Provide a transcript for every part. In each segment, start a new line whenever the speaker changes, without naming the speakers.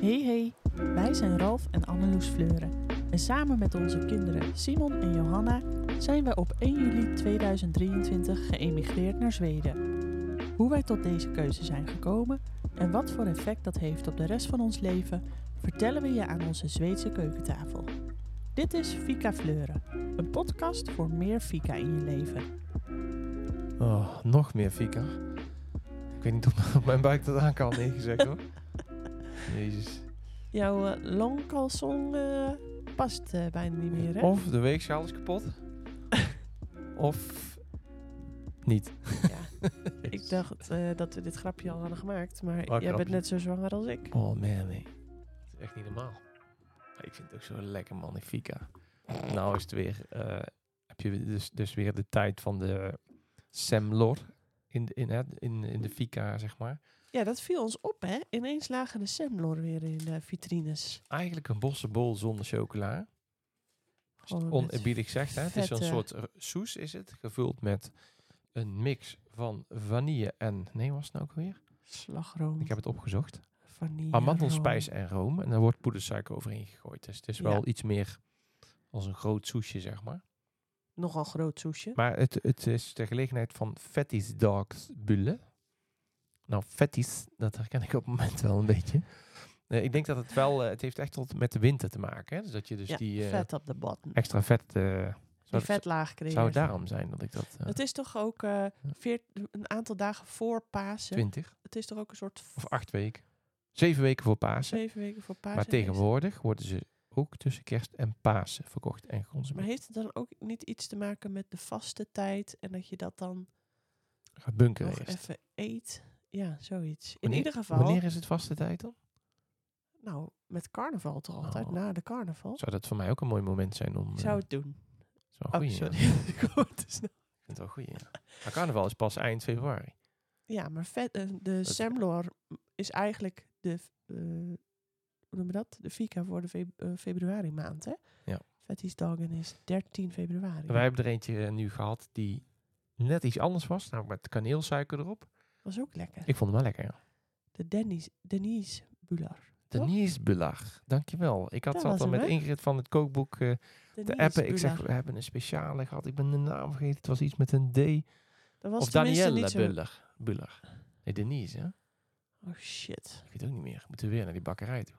Hey hey, wij zijn Ralf en Anneloes Fleuren. En samen met onze kinderen Simon en Johanna zijn wij op 1 juli 2023 geëmigreerd naar Zweden. Hoe wij tot deze keuze zijn gekomen en wat voor effect dat heeft op de rest van ons leven, vertellen we je aan onze Zweedse keukentafel. Dit is Fika Fleuren, een podcast voor meer Fika in je leven.
Oh, nog meer fika. Ik weet niet of op mijn buik dat aan kan, nee gezegd hoor. Jezus.
Jouw eh, longkalsong eh, past eh, bijna niet meer, hè?
Of de weegschaal is kapot. of niet.
Ja. ik dacht eh, dat we dit grapje al hadden gemaakt, maar jij bent
Dus- grapje.
net zo zwanger als ik.
Oh man, nee. Het is echt niet normaal. Maar Ik vind het ook zo lekker man, die fika. Nou is het weer, eh, heb je dus, dus weer de tijd van de semlor in, de- in, hè, in, in de fika, zeg maar.
Ja, dat viel ons op, hè? Ineens lagen de semlor weer in de vitrines.
Eigenlijk een bossenbol zonder chocola. Als je het
Gewoon met
oneerbiedig zegt, hè? het is een
Oh, vette-
soort r- soes is het, gevuld met een mix van vanille en, nee was het nou ook weer?
Slagroom,
Ik heb het opgezocht.
vanille,
Amandelspijs en room. En daar wordt poedersuiker overheen gegooid. Dus het is
Ja.
wel iets meer als een groot soesje, zeg maar.
room. Nogal groot soesje.
Maar het, het is de gelegenheid van Fettisdagsbulle. Nou, fettis, dat herken ik op het moment wel een beetje. Eh, ik denk dat het wel, eh, het heeft echt tot met de winter te maken. Hè? Dus dat je dus
ja,
die eh,
vet op de bottom.
extra vet... eh
Die
zou,
vetlaag kreeg.
zou het daarom zijn dat ik dat... eh,
Het is toch ook eh, veert- een aantal dagen voor Pasen.
20
Het is toch ook een soort
of 8 weken. 7 weken voor Pasen.
zeven weken voor Pasen.
Maar
geweest?
tegenwoordig worden ze ook tussen kerst en Pasen verkocht en
Maar
geconsumeerd.
heeft het dan ook niet iets te maken met de vaste tijd en dat je dat dan
Gaat bunkeren
nog
eerst.
even eet? Ja, zoiets. In
Wanneer-
ieder geval,
Wanneer is het vaste tijd dan?
nou, met carnaval toch altijd,
Oh.
na de carnaval.
Zou dat voor mij ook een mooi moment zijn om...
Ik
eh,
zou het doen.
is wel een
Oh,
goeie,
sorry.
ja.
Ik hoor te snel.
Ik vind het dus wel goed, ja. Maar carnaval is pas eind februari.
Ja, maar vet, eh, de
is-
semlor is eigenlijk de, eh, hoe noem je dat? De fika voor de fe- eh, februari maand, hè?
Ja.
Vettiesdagen is 13 februari.
Wij hebben er eentje eh, nu gehad die net iets anders was. Namelijk met kaneelsuiker erop.
was ook lekker.
Ik vond hem wel lekker, ja.
De Dennis, Denise Bular. Toch?
Denise Belag, dankjewel. Ik had
Dat
zat
was
al
hem,
met
hè?
Ingrid van het kookboek... eh, de
Denise
appen. Ik zeg,
Bular.
we hebben een speciale gehad. Ik ben de naam vergeten. Het was iets met een D.
dat was tenminste
of Danielle
niet zo-
Buller. Buller. Nee, Denise, hè?
Oh shit,
Ik weet ook niet meer. Moeten we weer naar die bakkerij toe.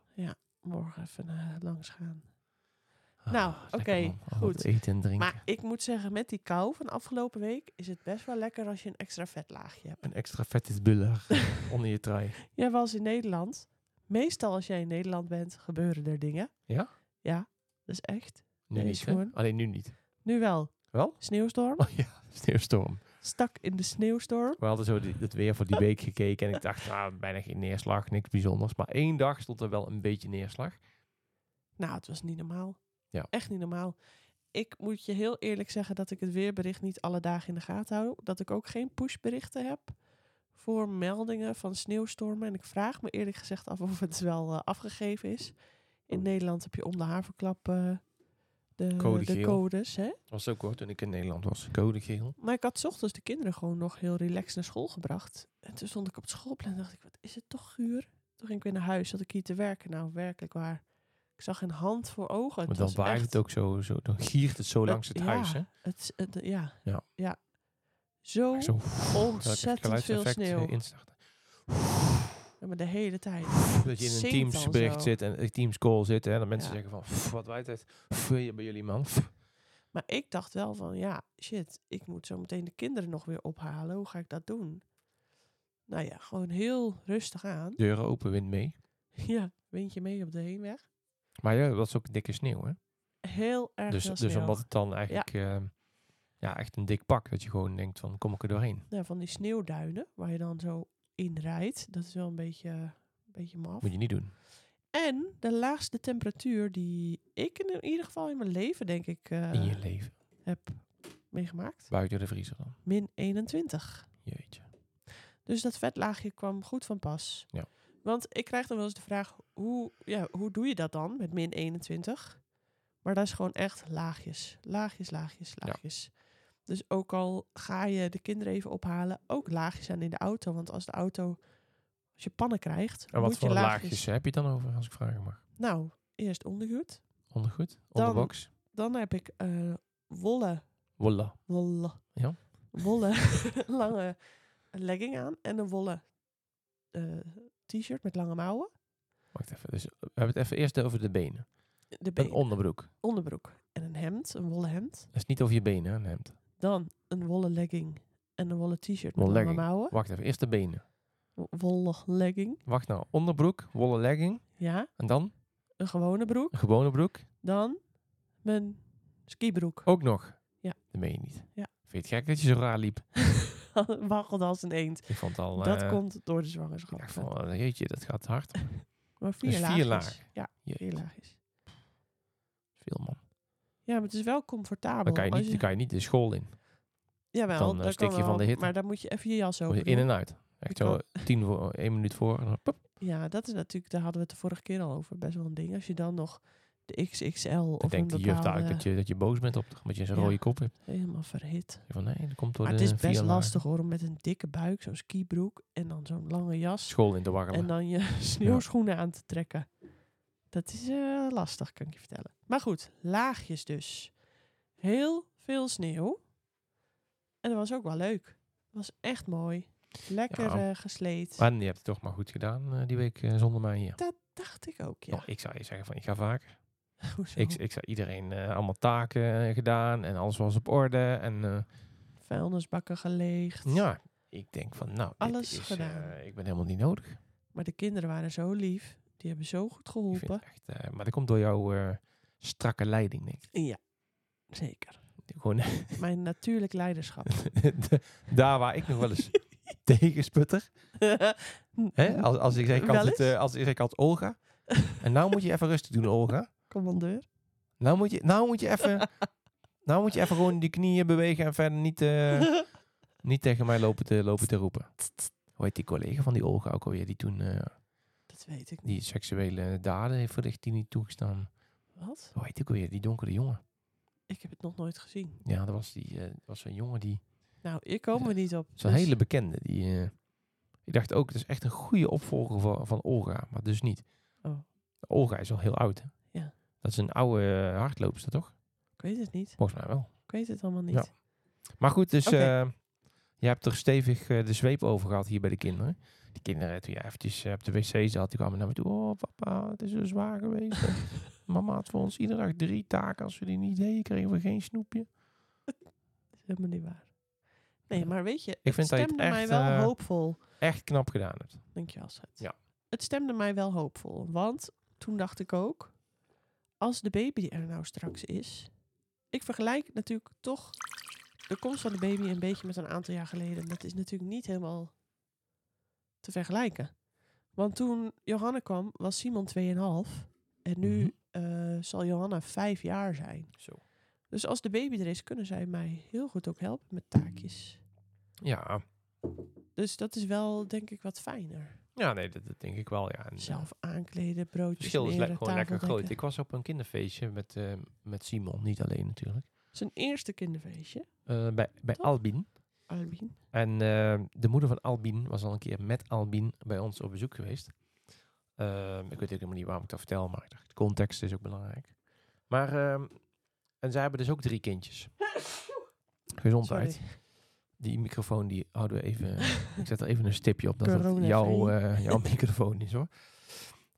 morgen even eh, langs gaan.
Ah,
Nou,
lekker,
oké,
man. Al
goed.
wat Eten en drinken.
Maar ik moet zeggen, met die kou van afgelopen week is het best wel lekker als je een extra vetlaagje hebt.
Een extra vettig buller onder je trui.
Jij was in Nederland. Meestal als jij in Nederland bent, gebeuren er dingen.
Ja?
Ja, dat is echt.
Nu
Nee,
niet, hè?
schoon.
Alleen nu niet.
Nu wel.
Wel?
Sneeuwstorm.
Oh ja, sneeuwstorm.
Stak in de sneeuwstorm.
We hadden zo die, het weer voor die week gekeken. En ik dacht, nou, bijna geen neerslag. Niks bijzonders. Maar één dag stond er wel een beetje neerslag.
Nou, het was niet normaal.
Ja.
Echt niet normaal. Ik moet je heel eerlijk zeggen dat ik het weerbericht niet alle dagen in de gaten hou. Dat ik ook geen pushberichten heb voor meldingen van sneeuwstormen. En ik vraag me eerlijk gezegd af of het wel eh, afgegeven is. In Nederland heb je om de haverklap eh, de,
Code
de
geel.
codes. Hè?
was ook hoor, toen ik in Nederland was. Code geel.
Maar ik had 's ochtends de kinderen gewoon nog heel relaxed naar school gebracht. En toen stond ik op het schoolplein en dacht ik, wat is het toch guur? Toen ging ik weer naar huis, zat ik hier te werken. Nou, werkelijk waar. Ik zag een hand voor ogen.
maar dan
was
waait
echt-
het ook zo, zo. Dan giert het zo
Dat-
langs het
ja,
huis, hè?
Het, is- het- ja.
Ja.
Zo,
Zo
Oh, ontzettend veel
eh,
sneeuw.
Instarten.
Ja, maar de hele tijd.
Dat je in een
Zinkt
Teams
al
bericht
zo.
zit en een Teams call zit hè, en dat
Ja.
mensen zeggen van "Pff, wat waait het Pff, hier bij jullie man. Pff."
Maar ik dacht wel van, ja, shit, ik moet zo meteen de kinderen nog weer ophalen. Hoe ga ik dat doen? Nou ja, gewoon heel rustig aan.
Deuren open, wind mee.
Ja, windje mee op de heenweg.
Maar ja, dat is ook dikke sneeuw hè.
Heel erg
Dus,
veel
dus
sneeuw.
omdat het dan eigenlijk ja. ja, echt een dik pak dat je gewoon denkt van kom ik er doorheen.
ja, Nou, van die sneeuwduinen, waar je dan zo in rijdt. Dat is wel een beetje, een beetje maf.
Moet je niet doen.
En de laagste temperatuur die ik in ieder geval in mijn leven, denk ik, eh,
In je leven.
heb meegemaakt.
Buiten de vriezer dan.
Min 21.
Jeetje.
Dus dat vetlaagje kwam goed van pas.
Ja.
Want ik krijg dan wel eens de vraag, hoe, ja, hoe doe je dat dan met min 21? Maar dat is gewoon echt laagjes, laagjes, laagjes,
Ja.
laagjes. Dus ook al ga je de kinderen even ophalen, ook laagjes aan in de auto. Want als de auto, als Als je pannen krijgt,
En wat
moet je
voor
laagjes...
laagjes heb je dan over, als ik vragen mag?
Nou, eerst ondergoed.
Ondergoed?
Dan-
Onderbox?
Dan heb ik eh wollen,
Voilà.
wollen,
Ja.
wollen lange legging aan en een wollen eh, t-shirt met lange mouwen.
Wacht even. Dus we hebben het even eerst over de benen.
De benen,
Een onderbroek.
onderbroek en een hemd, een wollen hemd.
Dat is niet over je benen, hè, een hemd.
Dan een wollen legging en een wollen t-shirt met
Wollen
lange
legging.
mouwen.
Wacht even. Eerst de benen.
Wollen legging,
Wacht nou. Onderbroek, wollen legging.
ja.
En dan
Een gewone broek.
een gewone broek.
Dan mijn skibroek.
Ook nog?
Ja.
Dat meen je niet.
Ja.
Vind je het gek dat je zo raar liep?
Waggelde als een eend.
Ik vond het al...
dat
eh,
komt door de
Ik
zwangerschap.
dacht van, eh, jeetje, dat gaat hard.
maar vier
dus
laagjes.
vier laag.
Ja, vier
Jeetje,
laagjes.
veel man.
Ja, maar het is wel comfortabel.
Dan kan je
Als
niet, dan kan je niet de school in.
Jawel,
dan, eh,
dat
stik
kan
je van de
wel,
hitte.
Maar dan moet je even je jas
Moet je
over
In
doen.
en uit. Echt
Ik
zo
kan-
tien voor, één minuut voor en dan pop.
Ja, dat is natuurlijk, daar hadden we het de vorige keer al over. Best wel een ding. Als je dan nog de XXL
Dan
of een
denkt de juf
bepaalde...
eigenlijk dat je, dat je boos bent op omdat je zo'n
Ja.
rode kop hebt.
Helemaal verhit.
Zeg je Van nee, dat komt door
Maar het
de
is best
vier lagen
lastig hoor, om met een dikke buik, zo'n skibroek en dan zo'n lange jas
school in te waggelen.
en dan je sneeuwschoenen aan te trekken. Dat is eh, lastig, kan ik je vertellen. Maar goed, laagjes dus. Heel veel sneeuw. En dat was ook wel leuk. Het was echt mooi. Lekker
Ja.
eh, gesleed.
maar je hebt het toch maar goed gedaan eh, die week eh, zonder mij hier.
Dat dacht ik ook, ja.
Nou, ik zou je zeggen van, ik ga vaker.
Hoezo?
Ik, ik zou iedereen eh, allemaal taken eh, gedaan en alles was op orde. En eh,
Vuilnisbakken geleegd.
Ja, ik denk van nou, dit
Alles
is,
gedaan.
eh, ik ben helemaal niet nodig.
Maar de kinderen waren zo lief. Die hebben zo goed
Ik vind
geholpen.
het echt, eh, maar dat komt door jouw eh, strakke leiding, denk ik.
Ja, zeker.
Gewoon
Mijn natuurlijk leiderschap.
de- daar waar ik nog wel eens tegen sputter. Hè? Als, als ik zeg, ik
Wel
had, het, eh, als ik zeg, ik had Olga. En nou moet je even rustig doen, Olga.
Commandeur.
Nou moet je, nou moet je even... Nou moet je even gewoon die knieën bewegen en verder niet, eh, niet tegen mij lopen te, lopen te roepen. Hoe heet die collega van die Olga ook alweer? Die toen eh,
dat weet ik niet.
die seksuele daden heeft verricht die niet toegestaan.
Wat?
Hoe heet die ook alweer? Die donkere jongen.
Ik heb het nog nooit gezien.
Ja, dat was, die, eh, dat was een jongen die...
Nou, hier komen we niet op.
Zo'n
Dus
hele bekende. Die, eh, ik dacht ook, dat is echt een goede opvolger van, van Olga, maar dus niet.
Oh.
Olga is al heel oud, hè?
Ja.
Dat is een oude eh, hardloopster, toch?
Ik weet het niet.
Volgens mij wel.
Ik weet het allemaal niet.
Ja. Maar goed, dus
Oké.
eh, je hebt er stevig eh, de zweep over gehad hier bij de kinderen. Die kinderen, toen je eventjes eh, op de wc zat, die kwamen naar me toe. Oh, papa, het is zo zwaar geweest. En Mama had voor ons iedere dag drie taken. Als we die niet deden, kregen we geen snoepje.
Dat is helemaal niet waar. Nee,
Ja.
maar weet je,
vind
het
dat je het
stemde mij
echt,
wel
eh,
hoopvol.
Echt knap gedaan hebt.
Dank je, Astrid.
Ja.
Het stemde mij wel hoopvol. Want toen dacht ik ook, als de baby er nou straks is... Ik vergelijk natuurlijk toch de komst van de baby een beetje met een aantal jaar geleden. Dat is natuurlijk niet helemaal te vergelijken. Want toen Johanna kwam, was Simon 2,5. En nu eh, zal Johanna 5 jaar zijn.
Zo.
Dus als de baby er is, kunnen zij mij heel goed ook helpen met taakjes.
Ja,
Dus dat is wel, denk ik, wat fijner.
ja nee, dat, dat denk ik wel. Ja. En, eh,
Zelf aankleden, broodjes
Het verschil is le-
smeren,
gewoon lekker
tafeldekken.
groot. Ik was op een kinderfeestje met, eh, met Simon, niet alleen natuurlijk.
Zijn eerste kinderfeestje,
Eh, bij bij
Toch?
Albin.
Albin.
En eh, de moeder van Albin was al een keer met Albin bij ons op bezoek geweest. Ehm, ik weet ook helemaal niet waarom ik dat vertel, maar ik dacht, context is ook belangrijk. Maar, ehm, en zij hebben dus ook drie kindjes. Gezondheid.
Sorry.
Die microfoon, die houden we even... Eh, ik zet er even een stipje op dat het
Corona-free.
jouw, eh, jouw microfoon is, hoor.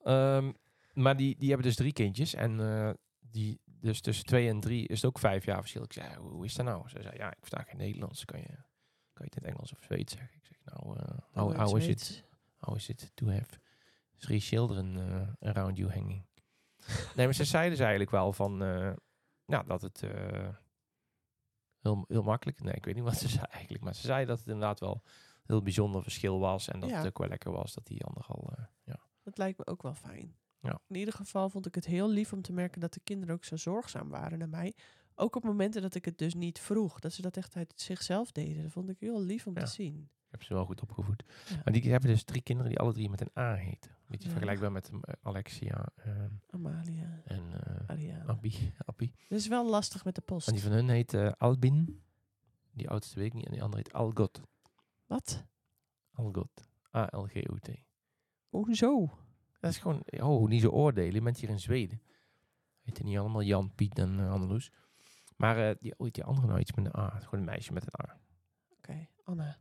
Ehm, maar die, die hebben dus drie kindjes. En eh, die, dus tussen twee en drie is het ook vijf jaar verschil. Ik zei, hoe hoe is dat nou? Ze zei, ja, ik versta geen Nederlands. Kan je, kan je het in het Engels of Zweeds zeggen? Ik zeg, nou, eh
Oh,
how,
ik
how is
zweet.
it, how Oh, is it to have three children eh, around you hanging? nee, maar ze zeiden dus eigenlijk wel van, eh, nou, dat het eh, heel, heel makkelijk... Nee, ik weet niet wat ze zei eigenlijk. Maar ze zei dat het inderdaad wel een heel bijzonder verschil was. En dat
Ja.
het ook wel lekker was dat die ander al... eh, ja.
Dat lijkt me ook wel fijn.
Ja.
In ieder geval vond ik het heel lief om te merken dat de kinderen ook zo zorgzaam waren naar mij. Ook op momenten dat ik het dus niet vroeg. Dat ze dat echt uit zichzelf deden. Dat vond ik heel lief om
Ja.
te zien.
Ik heb ze wel goed opgevoed.
Ja.
Maar die hebben dus drie kinderen die alle drie met een A heten. Beetje
Ja.
vergelijkbaar met eh, Alexia ehm,
Amalia,
en eh
Ariane.
Abby. Abby.
Dat is wel lastig met de post.
En die van hun heet eh, Albin. Die oudste weet ik niet. En die andere heet Algot.
Wat?
Algot. A-L-G-O-T.
Hoezo?
Dat is gewoon, oh, niet zo oordelen. Je bent hier in Zweden. Weet je niet allemaal Jan, Piet en eh, Anneloes. Maar eh, die, ooit die andere nou iets met een A. Gewoon een meisje met een A.
Oké, Anna.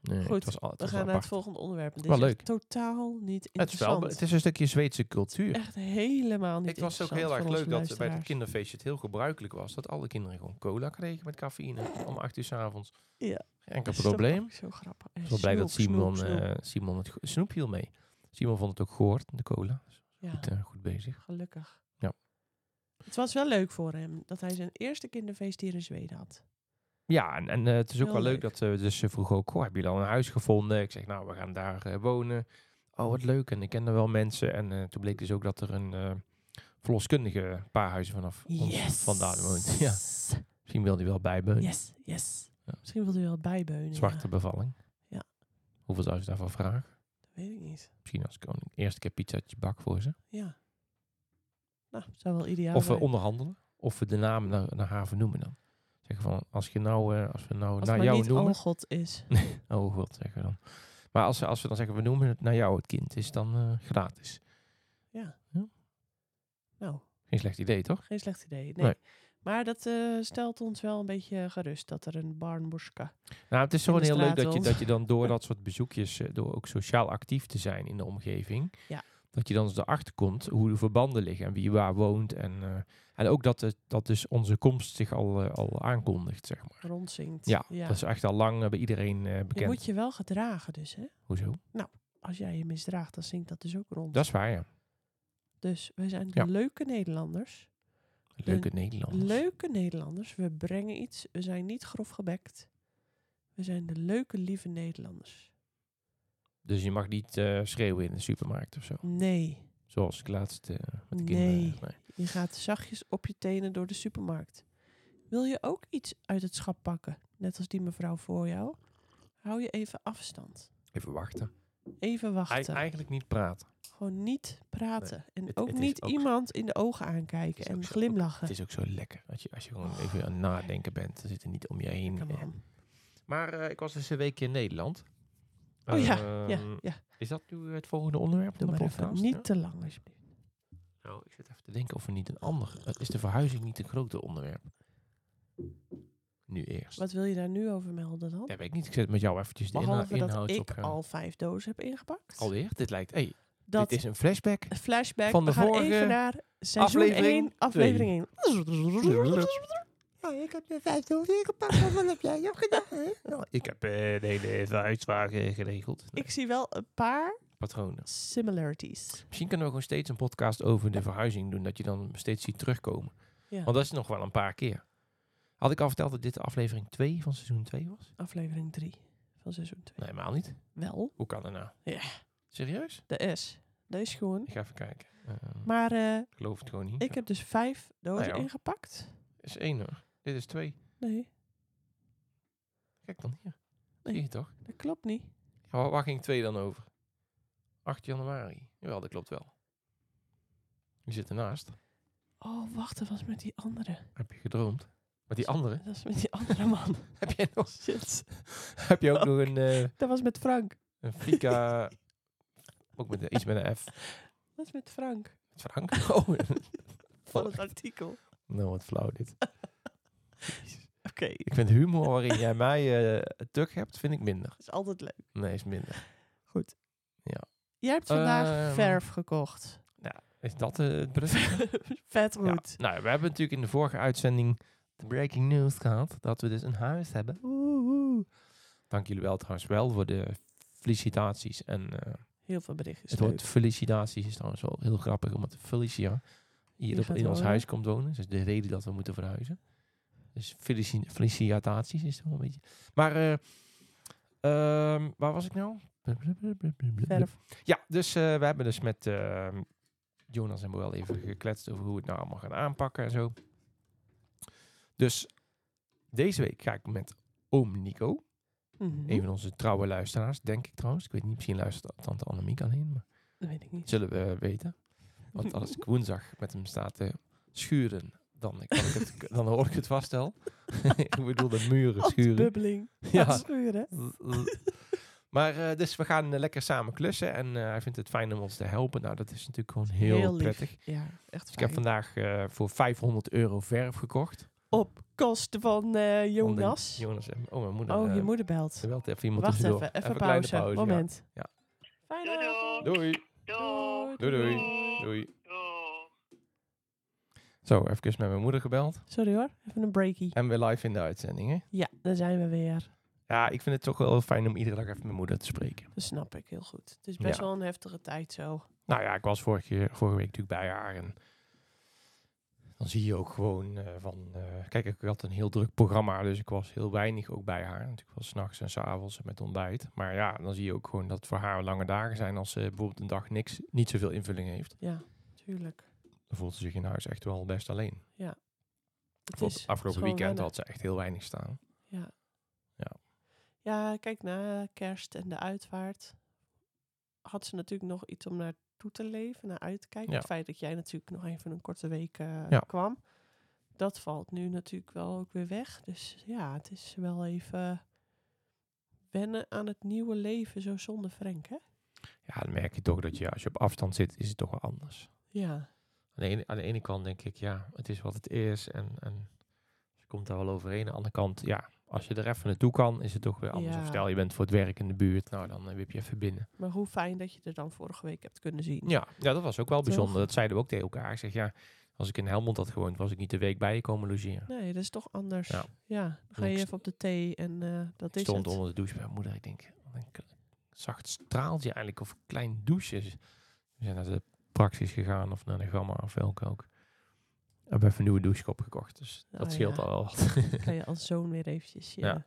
Nee,
Goed,
het was al, het
We
was
gaan naar
apart.
het volgende onderwerp. Dit
Wel
is echt
leuk.
totaal niet
Het is, wel,
interessant.
het is een stukje Zweedse cultuur.
Echt helemaal niet
Ik was ook
interessant
heel erg
voor onze
leuk dat bij het
luisteraars.
kinderfeestje het heel gebruikelijk was dat alle kinderen gewoon cola kregen met cafeïne om acht uur 's avonds.
Ja.
Geen enkel
Dat is zo-
probleem.
Zo grappig.
Ik was blij dat Simon, eh, Simon het go- snoep hield mee. Simon vond het ook gehoord, de cola. Dus
ja,
goed, eh, goed bezig.
gelukkig.
Ja.
Het was wel leuk voor hem dat hij zijn eerste kinderfeest hier in Zweden had.
Ja, en, en eh, het is ook
Heel
wel leuk
leuk.
dat eh, dus ze vroeg ook, "Goh, hebben jullie al een huis gevonden? Ik zeg, nou, we gaan daar eh, wonen. Oh, wat leuk. En ik kende wel mensen. En eh, toen bleek dus ook dat er een eh verloskundige een paar huizen vanaf ons vandaan woont. Ja, misschien wil hij wel bijbeunen.
Yes, yes.
Ja.
Misschien wilde u wel bijbeunen.
Zwarte
Ja.
bevalling.
Ja.
Hoeveel zou ze daarvan vragen?
Dat weet ik niet.
Misschien als koning. Eerste keer pizza uit je bak voor ze.
Ja. Nou, zou wel ideaal
of eh, we
zijn.
onderhandelen. Of we de naam naar, naar haar vernoemen dan. Zeggen van, als, je nou, eh, als we nou
Als het
naar
maar
jou
niet
noemen.
al God is.
Oh god, zeggen we dan. Maar als, als we dan zeggen, we noemen het naar jou het kind, is dan eh, gratis.
Ja.
Ja.
Nou,
Geen slecht idee, toch?
geen slecht idee. Nee.
Nee.
Maar dat eh, stelt ons wel een beetje gerust dat er een barnboerska...
Nou, het is
In
gewoon
de
heel leuk dat je,
straat
dat je dan door dat soort bezoekjes, eh, door ook sociaal actief te zijn in de omgeving,
Ja.
dat je dan eens erachter komt hoe de verbanden liggen en wie waar woont. En, eh, en ook dat, het, dat dus onze komst zich al, eh, al aankondigt, zeg maar.
rondzingt.
Ja, dat is echt al lang eh, bij iedereen eh,
Je
bekend.
moet je wel gedragen dus, hè?
Hoezo?
Als jij je misdraagt, dan zingt dat dus ook rond.
Dat is waar, ja.
Dus wij zijn
Ja. Oh,
leuke Nederlanders.
Leuke Nederlanders.
Leuke Nederlanders. We brengen iets. We zijn niet grof gebekt. We zijn de leuke, lieve Nederlanders.
Dus je mag niet eh, schreeuwen in de supermarkt of zo.
Nee,
Zoals ik laatst eh, met de
Nee.
kinderen... eh, Nee.
je gaat zachtjes op je tenen door de supermarkt. Wil je ook iets uit het schap pakken? Net als die mevrouw voor jou. Hou je even afstand.
Even wachten.
Even wachten.
Ei- eigenlijk niet praten.
Gewoon niet praten. En
Het-
ook
het is
niet
ook-
iemand in de ogen
Het
aankijken
is ook
en
zo-
glimlachen.
Het is ook zo lekker. Als je, als je gewoon even aan het nadenken bent. Er zitten niet om je heen.
Oh. Come
eh.
on.
Maar eh, ik was dus een weekje in Nederland.
Oh ja,
Ehm,
Ja, ja.
Is dat nu het volgende onderwerp van
Doe
de
maar even.
podcast?
Niet
Ja?
te lang alsjeblieft.
Nou, ik zit even te denken of er niet een ander... eh, Is de verhuizing niet een grote onderwerp? Nu eerst.
Wat wil je daar nu over melden dan?
Ja, weet ik niet. Ik zet met jou eventjes de inha-
Behalve dat
inhoud
ik
op. eh,
al vijf dozen heb ingepakt.
Alweer? Dit lijkt... Hey,
dat
Dit is een flashback.
flashback.
van de
we gaan
vorige
even naar seizoen
aflevering
1, aflevering 1.
Oh, ik heb de vijf dozen ingepakt. Wat heb jij gedaan? Nou, ik heb eh, de hele verhuiswagen geregeld. Nee,
Ik zie wel een paar
patronen.
similarities.
Misschien kunnen we gewoon steeds een podcast over de verhuizing doen. Dat je dan steeds ziet terugkomen.
Ja.
Want dat is nog wel een paar keer. Had ik al verteld dat dit de aflevering 2 van seizoen 2 was?
Aflevering 3 van seizoen 2.
Nee, helemaal niet.
Wel,
Hoe kan dat nou?
Ja.
Serieus?
de S. Dat is gewoon.
Ik ga even kijken. Ehm,
Maar eh,
ik geloof het gewoon niet.
ik heb dus vijf dozen
Nou ja.
ingepakt.
is één hoor. Dit is twee.
Nee,
Kijk dan hier.
Nee.
Zie je toch?
dat klopt niet.
Ja, Waar, waar ging 2 dan over? 8 januari. Jawel, dat klopt wel. Die zit ernaast.
Oh, wacht, dat was met die andere.
Heb je gedroomd? Met die andere? Oh.
Dat was met die andere man.
heb, jij nog,
Shit.
heb je ook nog een, eh
Dat was met Frank.
een Fika... ook met, een- iets met een F.
Dat was met Frank.
Met Frank? Oh,
Van het artikel. Oké.
nou, wat flauw dit.
Het
Ik vind humor waarin jij mij eh tuk hebt, vind ik minder.
is altijd leuk.
Nee, is minder.
Goed.
Ja.
Jij hebt vandaag
Ehm,
verf gekocht.
Is dat eh, het bruggetje?
Vet
Ja.
goed.
Nou, we hebben natuurlijk in de vorige uitzending de breaking news gehad. Dat we dus een huis hebben. Woehoe. Dank jullie wel trouwens wel voor de felicitaties. En eh,
Heel veel berichtjes.
het
leuk.
woord felicitaties is trouwens wel heel grappig. Omdat Felicia hier
Hier
op-
gaat
in ons
wonen.
huis komt wonen. Dus de reden dat we moeten verhuizen. Dus felici- felicitaties is het wel een beetje. Maar eh, ehm, waar was ik nou?
verf.
Ja, dus eh, we hebben dus met ehm, Jonas en Boel even gekletst over hoe we het nou allemaal gaan aanpakken en zo. Dus deze week ga ik met oom Nico,
Mhm.
een van onze trouwe luisteraars, denk ik trouwens. Ik weet niet, misschien luistert tante Annemiek alleen, maar
Dat weet ik
dat
niet.
zullen we weten. Want als ik woensdag met hem sta te schuren, dan, kan ik het, dan hoor ik het vast wel. ik bedoel de muren
Wat
schuren.
bubbeling.
Ja.
Wat schuren.
L- l- Maar eh, dus we gaan eh, lekker samen klussen. En eh, hij vindt het fijn om ons te helpen. Nou, dat is natuurlijk gewoon heel,
lief.
prettig.
Ja, echt
Dus ik heb
fijn.
vandaag eh, voor 500 euro verf gekocht.
Op kosten van eh,
Want de-
Jonas.
Jonas en oh, mijn moeder.
Oh, je
eh,
moeder belt.
er belt even iemand
Wacht
tussendoor.
even, even
een kleine
pauze.
ja.
Moment.
Ja.
Fijne
Doei, doei.
avond.
Doei.
Doei. Doei, doei. Doei. Zo, even met mijn moeder gebeld.
Sorry hoor, even een breakie.
En weer live in de uitzending, hè?
Ja, daar zijn we weer.
Ja, ik vind het toch wel fijn om iedere dag even mijn moeder te spreken.
Dat snap ik heel goed. Het is best
Ja.
wel een heftige tijd zo.
Nou ja, ik was vorige, vorige week natuurlijk bij haar. En dan zie je ook gewoon eh, van... eh, kijk, ik had een heel druk programma, dus ik was heel weinig ook bij haar. Natuurlijk wel s'nachts en s'avonds en met ontbijt. Maar ja, dan zie je ook gewoon dat het voor haar lange dagen zijn... als ze bijvoorbeeld een dag niks, niet zoveel invulling heeft.
Ja, tuurlijk.
Dan voelt ze zich in huis echt wel best alleen.
Het
Want
is
afgelopen
gewoon
weekend
wennen.
had ze echt heel weinig staan.
Ja.
Ja.
Ja, kijk, na kerst en de uitvaart had ze natuurlijk nog iets om naartoe te leven, naar uit te kijken.
Ja.
Het feit dat jij natuurlijk nog even een korte week eh,
Ja.
kwam, dat valt nu natuurlijk wel ook weer weg. Dus ja, het is wel even wennen aan het nieuwe leven, zo zonder Frank, hè?
Ja, dan merk je toch dat je, als je op afstand zit, is het toch wel anders.
Ja,
Aan de, ene, aan de ene kant denk ik, ja, het is wat het is. En, en je komt daar wel overheen. Aan de andere kant, ja, als je er even naartoe kan, is het toch weer anders.
Ja.
Of stel, je bent voor het werk in de buurt, nou, dan eh, wip je even binnen.
maar hoe fijn dat je er dan vorige week hebt kunnen zien.
Ja, ja dat was ook wel
Toch?
bijzonder. Dat zeiden we ook tegen elkaar. Ik zeg, ja, als ik in Helmond had gewoond, was ik niet de week bij je komen logeren.
Nee, dat is toch anders. Ja,
Ja.
dan ga je
Ik st-
even op de thee en eh, dat
ik
is
stond
het.
onder de douche bij mijn moeder. Ik denk, wat een k- zacht straaltje eigenlijk, of klein douche. We zijn naar de praxis gegaan, of naar de gamma, of welke ook. We hebben even een nieuwe douchekop gekocht, dus
Oh,
dat scheelt
ja.
al wel wat.
kan je als zoon weer eventjes je
Ja.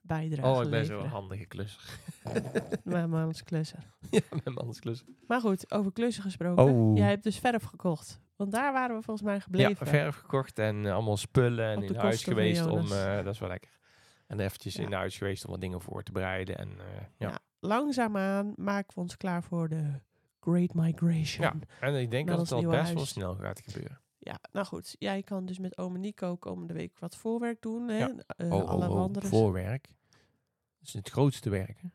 bijdrage
Oh, ik ben zo'n
leveren.
handige klusser.
Maar maar als klusser.
ja, met anders klussen.
Maar goed, over klussen gesproken.
Oh.
Jij hebt dus verf gekocht. Want daar waren we volgens mij gebleven.
Ja, verf gekocht en eh, allemaal spullen en
Op de
in huis
kosten van
geweest om...
Jonas.
eh, dat is wel lekker. En eventjes
Ja.
in huis geweest om wat dingen voor te bereiden. En eh, ja.
Ja. Langzaamaan maken we ons klaar voor de Great Migration.
Ja. en ik
Met
denk dat
ons
het al
nieuwe
best wel
huis.
snel gaat gebeuren.
Ja, nou goed. Jij kan dus met ome Nico komende week wat voorwerk doen. Hè?
Ja.
Eh, alle wandelen.
Oh, voorwerk. Dat is het grootste werk. hè.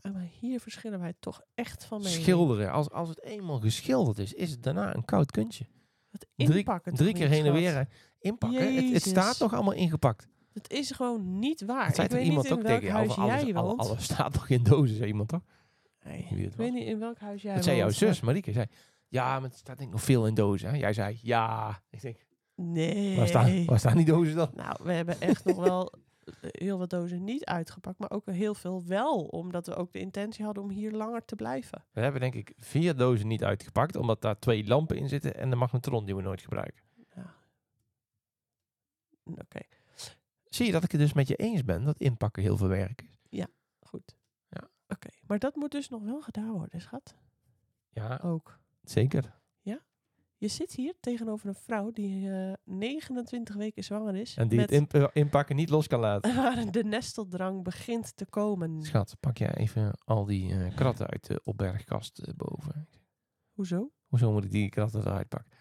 Ja, maar hier verschillen wij toch echt van mee.
Schilderen. Als, als het eenmaal geschilderd is, is het daarna een koud kuntje.
Het
Drie-
inpakken toch
Drie keer
niet,
heen en
schat?
weer hè. inpakken. Het, het
Jezus.
staat nog allemaal ingepakt.
Het is gewoon niet waar.
Dat zei
ik
toch
weet niet
iemand
in
ook
welk
tegen jou?
huis
Van Alles,
jij
alle-
woont.
alles staat toch in dozen, zei iemand toch?
Nee,
wie het
ik weet
was.
niet in welk huis jij
Dat zei jouw
woont, maar-
zus, Marieke. Zei, ja, maar het staat denk ik nog veel in dozen. Hè? Jij zei, ja. Ik denk,
Nee.
waar, staan, waar staan die dozen dan?
Nou, we hebben echt nog wel heel wat dozen niet uitgepakt, maar ook heel veel wel, omdat we ook de intentie hadden om hier langer te blijven.
We hebben denk ik vier dozen niet uitgepakt, omdat daar twee lampen in zitten en de magnetron die we nooit gebruiken.
Hm, Oké,
Zie je dat ik het dus met je eens ben, dat inpakken heel veel werk is?
goed.
Ja.
Oké, maar dat moet dus nog wel gedaan worden, schat.
Ja,
Ook.
zeker.
Je zit hier tegenover een vrouw die eh 29 weken zwanger is.
En die
met
het imp- eh, inpakken niet los kan laten.
waar de nesteldrang begint te komen.
Schat, pak jij even al die eh, kratten uit de opbergkast eh, boven.
Hoezo?
Hoezo moet ik die kratten eruit pakken?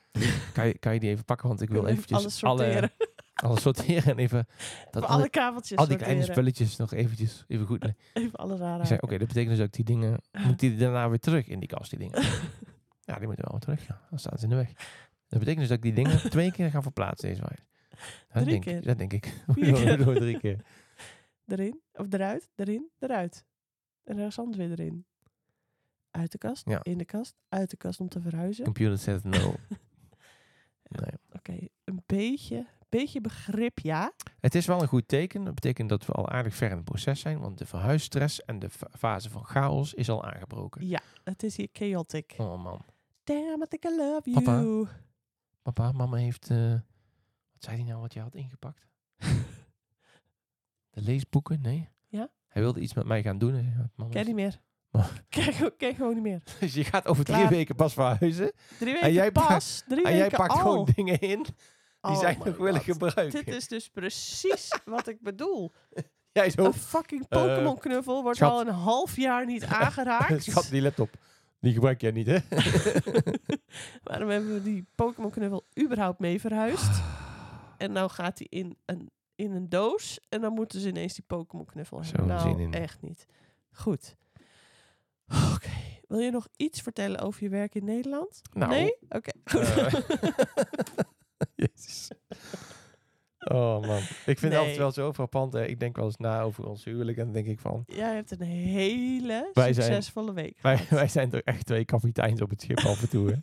kan, je, kan je die even pakken, want ik wil
Even
eventjes
alles sorteren.
Alle, alles sorteren en even... Dat
Voor
alle-
alle kabeltjes
Al die kleine
sorteren.
spulletjes nog eventjes even goed. Ik
Even alle rare.
zei, oké, dat betekent dus ook die dingen,
Ah.
moet die daarna weer terug in die kast, die dingen. Ja, die moeten wel weer terug, ja. Dan staan ze in de weg. Dat betekent dus dat ik die dingen twee keer ga verplaatsen deze week. Dat
Drie
denk,
keer.
Ik, dat denk ik.
Vier keer.
Door drie keer.
Erin, of eruit, erin, eruit. En er is zand weer erin. Uit de kast,
Ja.
in de kast, uit de kast om te verhuizen.
Computer zegt no. Nee.
Oké, een beetje, beetje begrip, ja.
Het is wel een goed teken. Dat betekent dat we al aardig ver in het proces zijn, want de verhuisstress en de fa- fase van chaos is al aangebroken.
Het is hier chaotic.
Oh man.
Damn it, I love you.
Papa. Papa, mama heeft. eh, wat zei hij nou wat je had ingepakt? De leesboeken? Nee.
Ja?
Hij wilde iets met mij gaan doen. en zei, ja, mama
Ken
is-
niet meer.
Maar-
Ken, gewoon- ken gewoon niet meer.
Dus je gaat over
Klaar.
drie weken pas verhuizen.
Drie weken
Ah, jij pa-
pas. Drie
en jij
weken
pakt
al.
gewoon dingen in die
Oh
zijn
my
nog willen
God.
gebruiken.
Dit is dus precies wat ik bedoel.
Jij zo.
Een fucking Pokémon knuffel wordt
Eh, schat.
al een half jaar niet aangeraakt.
Schat, die laptop. Die gebruik jij niet, hè?
Waarom hebben we die Pokémon knuffel überhaupt mee verhuisd? En nou gaat hij in een in een doos. En dan moeten ze ineens die Pokémon knuffel hebben.
Zo'n
nou,
zin in.
echt niet. Goed. Oké. Wil je nog iets vertellen over je werk in Nederland?
Nou,
nee? Oké.
eh, Jezus. Oh man, ik vind het
Nee.
altijd wel zo frappant. Hè. Ik denk wel eens na over ons huwelijk en dan denk ik van...
Jij hebt een hele
Wij zijn-
succesvolle week.
Wij,
gehad.
wij zijn toch echt twee kapiteins op het schip af en toe. Hè.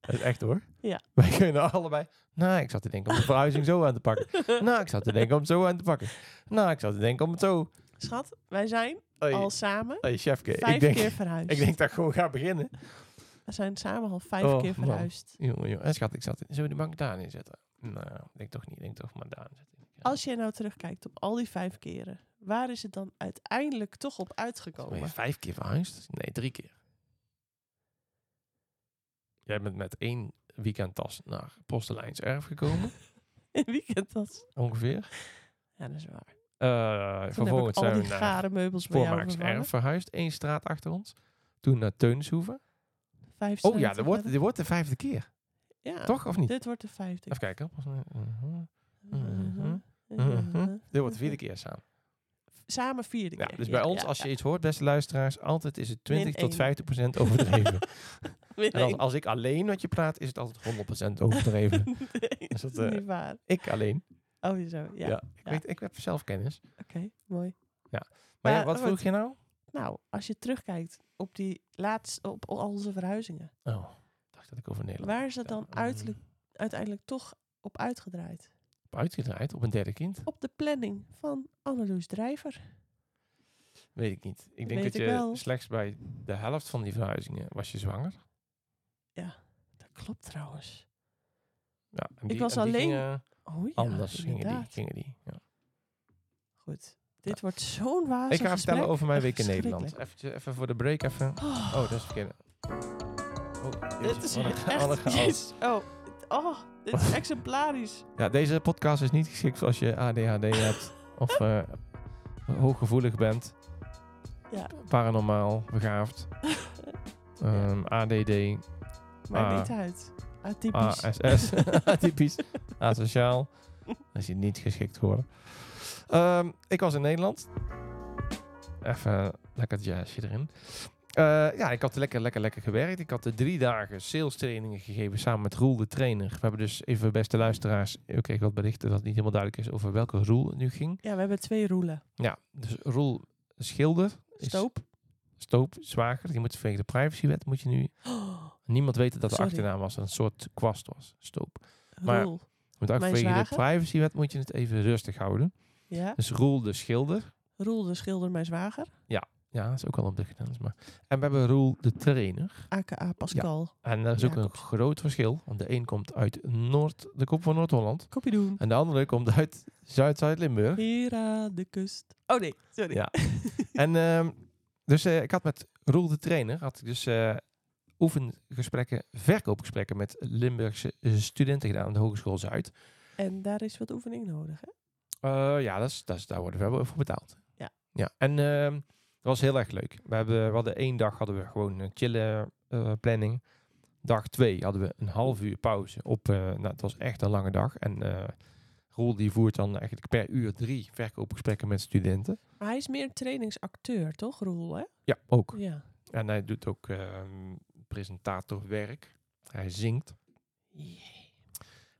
Dat is echt hoor.
Ja.
Wij kunnen allebei... Nou, ik zat te denken om de verhuizing zo aan te pakken. Nou, ik zat te denken om het zo aan te pakken. Nou, ik zat te denken om het zo...
Schat, wij zijn
Hey,
al samen
hey, chefke,
vijf
ik denk,
keer verhuisd.
ik denk dat ik gewoon ga beginnen.
We zijn samen al vijf
Oh,
keer
man.
verhuisd.
Jongen, jongen. En schat, ik zat... Zullen we de bank daarin zetten? Nou, ik denk toch niet. Ik denk toch maar daarin zetten.
Als jij nou terugkijkt op al die vijf keren, waar is het dan uiteindelijk toch op
Ben je
uitgekomen?
vijf keer verhuisd? Nee, drie keer. Jij bent met één weekendtas naar Postelijns Erf gekomen,
In weekend dat.
ongeveer.
Ja, dat is waar.
Eh,
Toen heb ik
vervolgens
al
zijn
die
we naar
gare meubels bij jou
Voormaaks
vervangen.
Erf verhuisd, één straat achter ons. Toen naar Teunshoeven.
Vijf
Oh ja,
straten
dat wordt,
verder.
dit wordt de vijfde keer,
Ja,
toch? Of niet?
Dit wordt de vijfde.
Even kijken.
Mhm.
Mhm. Dit wordt de vierde keer samen.
Samen vierde
Ja,
keer.
dus bij ons, als je iets hoort, beste luisteraars, altijd is het 20
één.
tot 50 procent overdreven.
Min
en als,
één.
als ik alleen met je praat, is het altijd 100 procent overdreven.
nee,
is
dat,
dat,
is
eh,
niet waar.
Ik alleen.
Oh, zo. Ja,
Ja. Ik,
Ja.
Weet, ik heb zelf kennis.
oké. mooi.
Maar ja,
Ja, oh,
wat
wat-
vroeg je nou?
Nou, als je terugkijkt op die laatste, op al onze verhuizingen.
Oh, ik dacht dat ik over Nederland.
Waar is dat dan
Ja, mm,
uiterlijk- uiteindelijk toch op uitgedraaid?
heb Uitgedraaid mm, op een derde kind?
Op de planning van Anneloes Drijver.
Weet ik niet. Ik denk
Weet
dat
ik
je
wel.
slechts bij de helft van die verhuizingen was je zwanger.
Dat klopt trouwens.
Ja, en
Ik was alleen-
gingen
Oh ja,
anders gingen die.
inderdaad.
Gingen die ja.
Goed. Dit wordt zo'n wazig
Ik ga vertellen
gesprek.
over mijn
Echt
week in Nederland.
verschrikkelijk.
Even, even voor de break. Even.
Oh,
Oh, dat is verkeerd. Oh,
dit
jezus,
is
wat een-
echt...
wat een chaos.
jezus. oh, het- oh, dit is exemplarisch.
Ja, deze podcast is niet geschikt als je ADHD hebt of eh, hooggevoelig bent.
Ja.
Paranormaal, begaafd. Ehm, ADD,
Maar
Ah.
niet uit. Atypisch.
ASS, atypisch, asociaal. Dan is je niet geschikt geworden. Ehm, ik was in Nederland. Even lekker jazzje erin. Eh, ja, ik had lekker, lekker, lekker gewerkt. Ik had de drie dagen sales trainingen gegeven samen met Roel, de trainer. We hebben dus even, beste luisteraars, ik kreeg wat berichten dat het niet helemaal duidelijk is over welke Roel het nu ging.
ja, we hebben twee roelen.
Ja, dus Roel Schilder. is-
Stoop.
Stoop, zwager. Die moet vanwege de privacywet, moet je nu...
Oh,
Niemand weet dat dat de
Sorry.
achternaam was. dat het Een soort kwast was, Stoop. Maar-
roel.
Want
Mijn
ook vanwege de
zwager?
privacywet moet je het even rustig houden.
Ja.
Dus Roel de Schilder.
Roel de schilder, mijn zwager.
Ja, dat is ook al op de grens. Maar... En we hebben Roel de Trainer.
AKA Pascal.
En daar is ook een
Jacobs.
groot verschil. Want de een komt uit Noord, de kop van Noord-Holland.
Kopje doen.
En de andere komt uit Zuid-Zuid-Limburg.
Hier aan de kust. Oh nee, sorry.
Ja. En ehm, dus eh, ik had met Roel de Trainer, had ik dus eh, oefengesprekken, verkoopgesprekken met Limburgse eh, studenten gedaan aan de Hogeschool Zuid.
En daar is wat oefening nodig, hè?
Eh, ja, dat is, dat is, daar worden we wel voor betaald.
Ja.
ja. En ehm, dat was heel erg leuk. We, hebben, we hadden één dag hadden we gewoon een chillen eh, planning. Dag twee hadden we een half uur pauze. Op, eh, nou, het was echt een lange dag. En eh, Roel die voert dan eigenlijk per uur drie verkoopgesprekken met studenten.
Maar hij is meer een trainingsacteur, toch, Roel, hè?
Ja, ook.
Ja.
En hij doet ook ehm, presentatorwerk. Hij zingt. En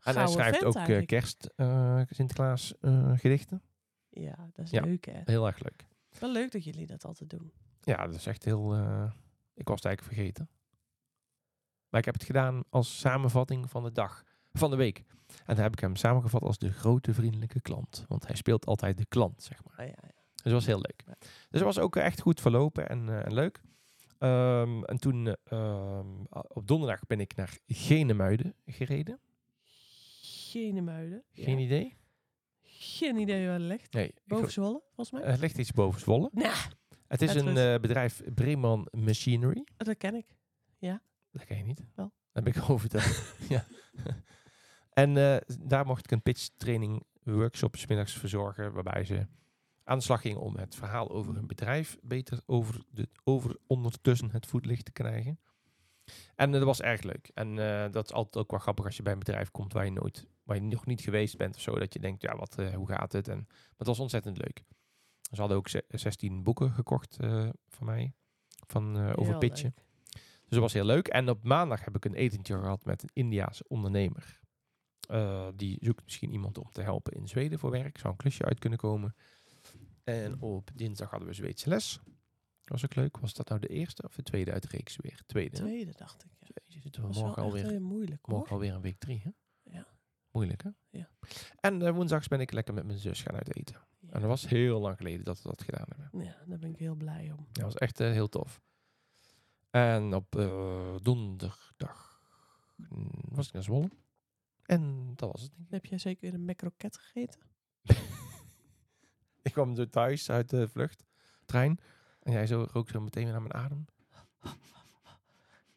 hij
Gouden
schrijft
vent
ook eh,
eigenlijk.
kerst eh Sinterklaas eh, gedichten.
Ja, dat is
Ja.
leuk, hè?
Heel erg leuk.
Wel leuk dat jullie dat altijd doen.
Ja, dat is echt heel. eh, ik was het eigenlijk vergeten. Maar ik heb het gedaan als samenvatting van de dag, van de week. En daar heb ik hem samengevat als de grote vriendelijke klant. Want hij speelt altijd de klant, zeg maar.
Ah, ja, ja.
Dus dat was heel leuk.
Ja.
Dus het was ook echt goed verlopen en, eh, en leuk. Ehm, en toen eh, ehm, op donderdag ben ik naar Genemuiden gereden.
Geen muiden.
Geen idee?
Geen idee waar het ligt.
Nee. ik
Boven
geloof-
Zwolle, Nou, volgens mij.
het ligt iets boven Zwolle.
Nah.
Het is
Het
een
is-
eh, bedrijf Breeman Machinery.
dat ken ik.
Dat ken je niet.
Wel.
Dat heb ik al verteld. ja. En eh, daar mocht ik een pitch training workshop 's middags verzorgen, waarbij ze aan de slag gingen om het verhaal over hun bedrijf beter over, de, over ondertussen het voetlicht te krijgen. En eh, dat was erg leuk. En eh, dat is altijd ook wel grappig als je bij een bedrijf komt waar je nooit, waar je nog niet geweest bent of zo. Dat je denkt, ja, wat, eh, hoe gaat het? En, maar het was ontzettend leuk. Ze hadden ook ze- 16 boeken gekocht eh, van mij. Van, eh, over
Heel
pitchen.
leuk.
Dus dat was heel leuk. En op maandag heb ik een etentje gehad met een Indiaanse ondernemer. Eh, die zoekt misschien iemand om te helpen in Zweden voor werk. Zou een klusje uit kunnen komen. En op dinsdag hadden we Zweedse les. Was ook leuk. Was dat nou de eerste of de tweede uit de reeks weer? Tweede. hè?
Tweede dacht ik. Ja.
Jeetje, zitten we
Dat was
morgen
wel echt
alweer,
heel moeilijk hoor.
morgen alweer in week drie, hè?
Ja.
Moeilijk, hè?
Ja.
En eh, woensdags ben ik lekker met mijn zus gaan uit eten. En dat was heel lang geleden dat we dat gedaan hebben.
Ja, daar ben ik heel blij om.
Dat was echt eh, heel tof. En op eh, donderdag mm, was ik naar Zwolle. En dat was het, denk ik.
Heb jij zeker weer een macroket gegeten?
Ik kwam zo thuis uit de vlucht, trein. En jij zo rook zo meteen weer naar mijn adem.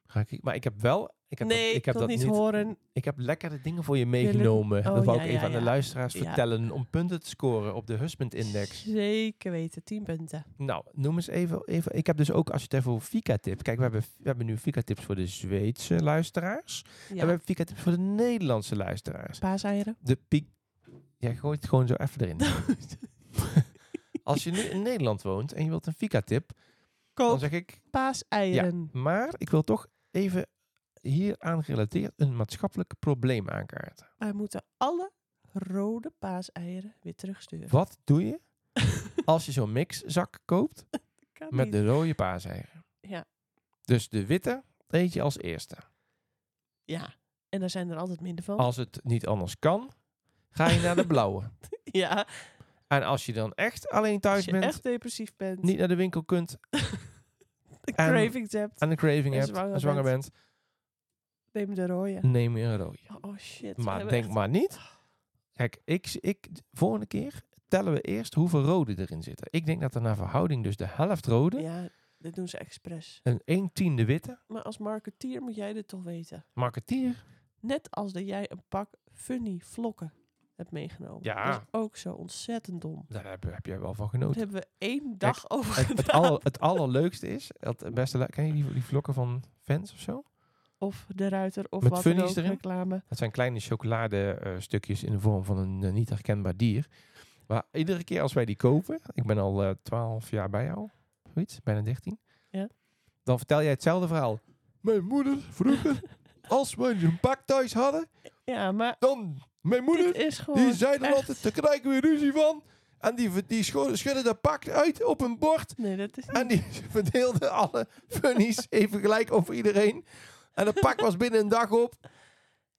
Ga ik, maar ik heb wel... Ik heb
nee,
dat, ik heb
wil
dat
niet horen.
Ik heb lekkere dingen voor je
lukt-
meegenomen.
Oh,
dat wou
ja,
ik
ja,
even aan
ja.
de luisteraars
Ja.
vertellen om punten te scoren op de Husband Index.
Zeker weten, 10 punten.
Nou, noem eens even, even. Ik heb dus ook, als je het even over Fika-tips. Kijk, we hebben, we hebben nu Fika-tips voor de Zweedse luisteraars. En
Ja,
we hebben Fika-tips voor de Nederlandse luisteraars.
paaseieren.
De piek... Jij gooit het gewoon zo even erin. als je nu in Nederland woont en je wilt een Fika-tip, dan
Koop
zeg ik...
paaseieren.
Maar ik wil toch even hieraan gerelateerd een maatschappelijk probleem aankaarten.
Wij moeten alle rode paaseieren weer terugsturen.
Wat doe je als je zo'n mixzak koopt
Kan
met
niet.
de rode paaseieren.
Ja.
Dus de witte eet je als eerste.
Ja, en daar zijn er altijd minder van.
Als het niet anders kan, ga je naar de blauwe.
Ja,
En als je dan echt alleen thuis
als je
bent,
echt depressief bent,
niet naar de winkel kunt
de
en-
cravings hebt,
en een craving
En
hebt,
zwanger
en zwanger bent,
neem de rode.
neem je een rode.
Oh, Oh shit. we
Maar
hebben
denk
echt-
maar niet. Kijk, ik, ik, volgende keer tellen we eerst hoeveel rode erin zitten. Ik denk dat er naar verhouding dus de helft rode
Ja, dit doen ze expres.
en een tiende witte.
Maar als marketeer moet jij dit toch weten.
Marketeer.
Net als dat jij een pak funny vlokken hebt meegenomen.
Ja.
Dat is ook zo ontzettend dom.
Daar heb, heb jij wel van
Daar
genoten.
hebben we één dag over
Het,
gedaan.
het, aller, het allerleukste is, het beste, lu- ken je die, die vlokken van Vans of zo?
Of de ruiter of
Met
wat dan
funnies
ook,
erin?
reclame.
Dat zijn kleine chocoladestukjes in de vorm van een eh, niet herkenbaar dier. Maar iedere keer als wij die kopen, ik ben al eh 12 jaar bij jou, zoiets, bijna 13.
Ja.
Dan vertel jij hetzelfde verhaal. Mijn moeder vroeger, als we een pak thuis hadden,
Ja, maar
dan mijn
dit
moeder,
is gewoon
die zei dan
echt-
altijd, daar krijgen we ruzie van. En die, ver- die scho- schudde dat pak uit op een bord.
Nee, dat is niet...
En die verdeelde alle funnies even gelijk over iedereen. En het pak was binnen een dag op.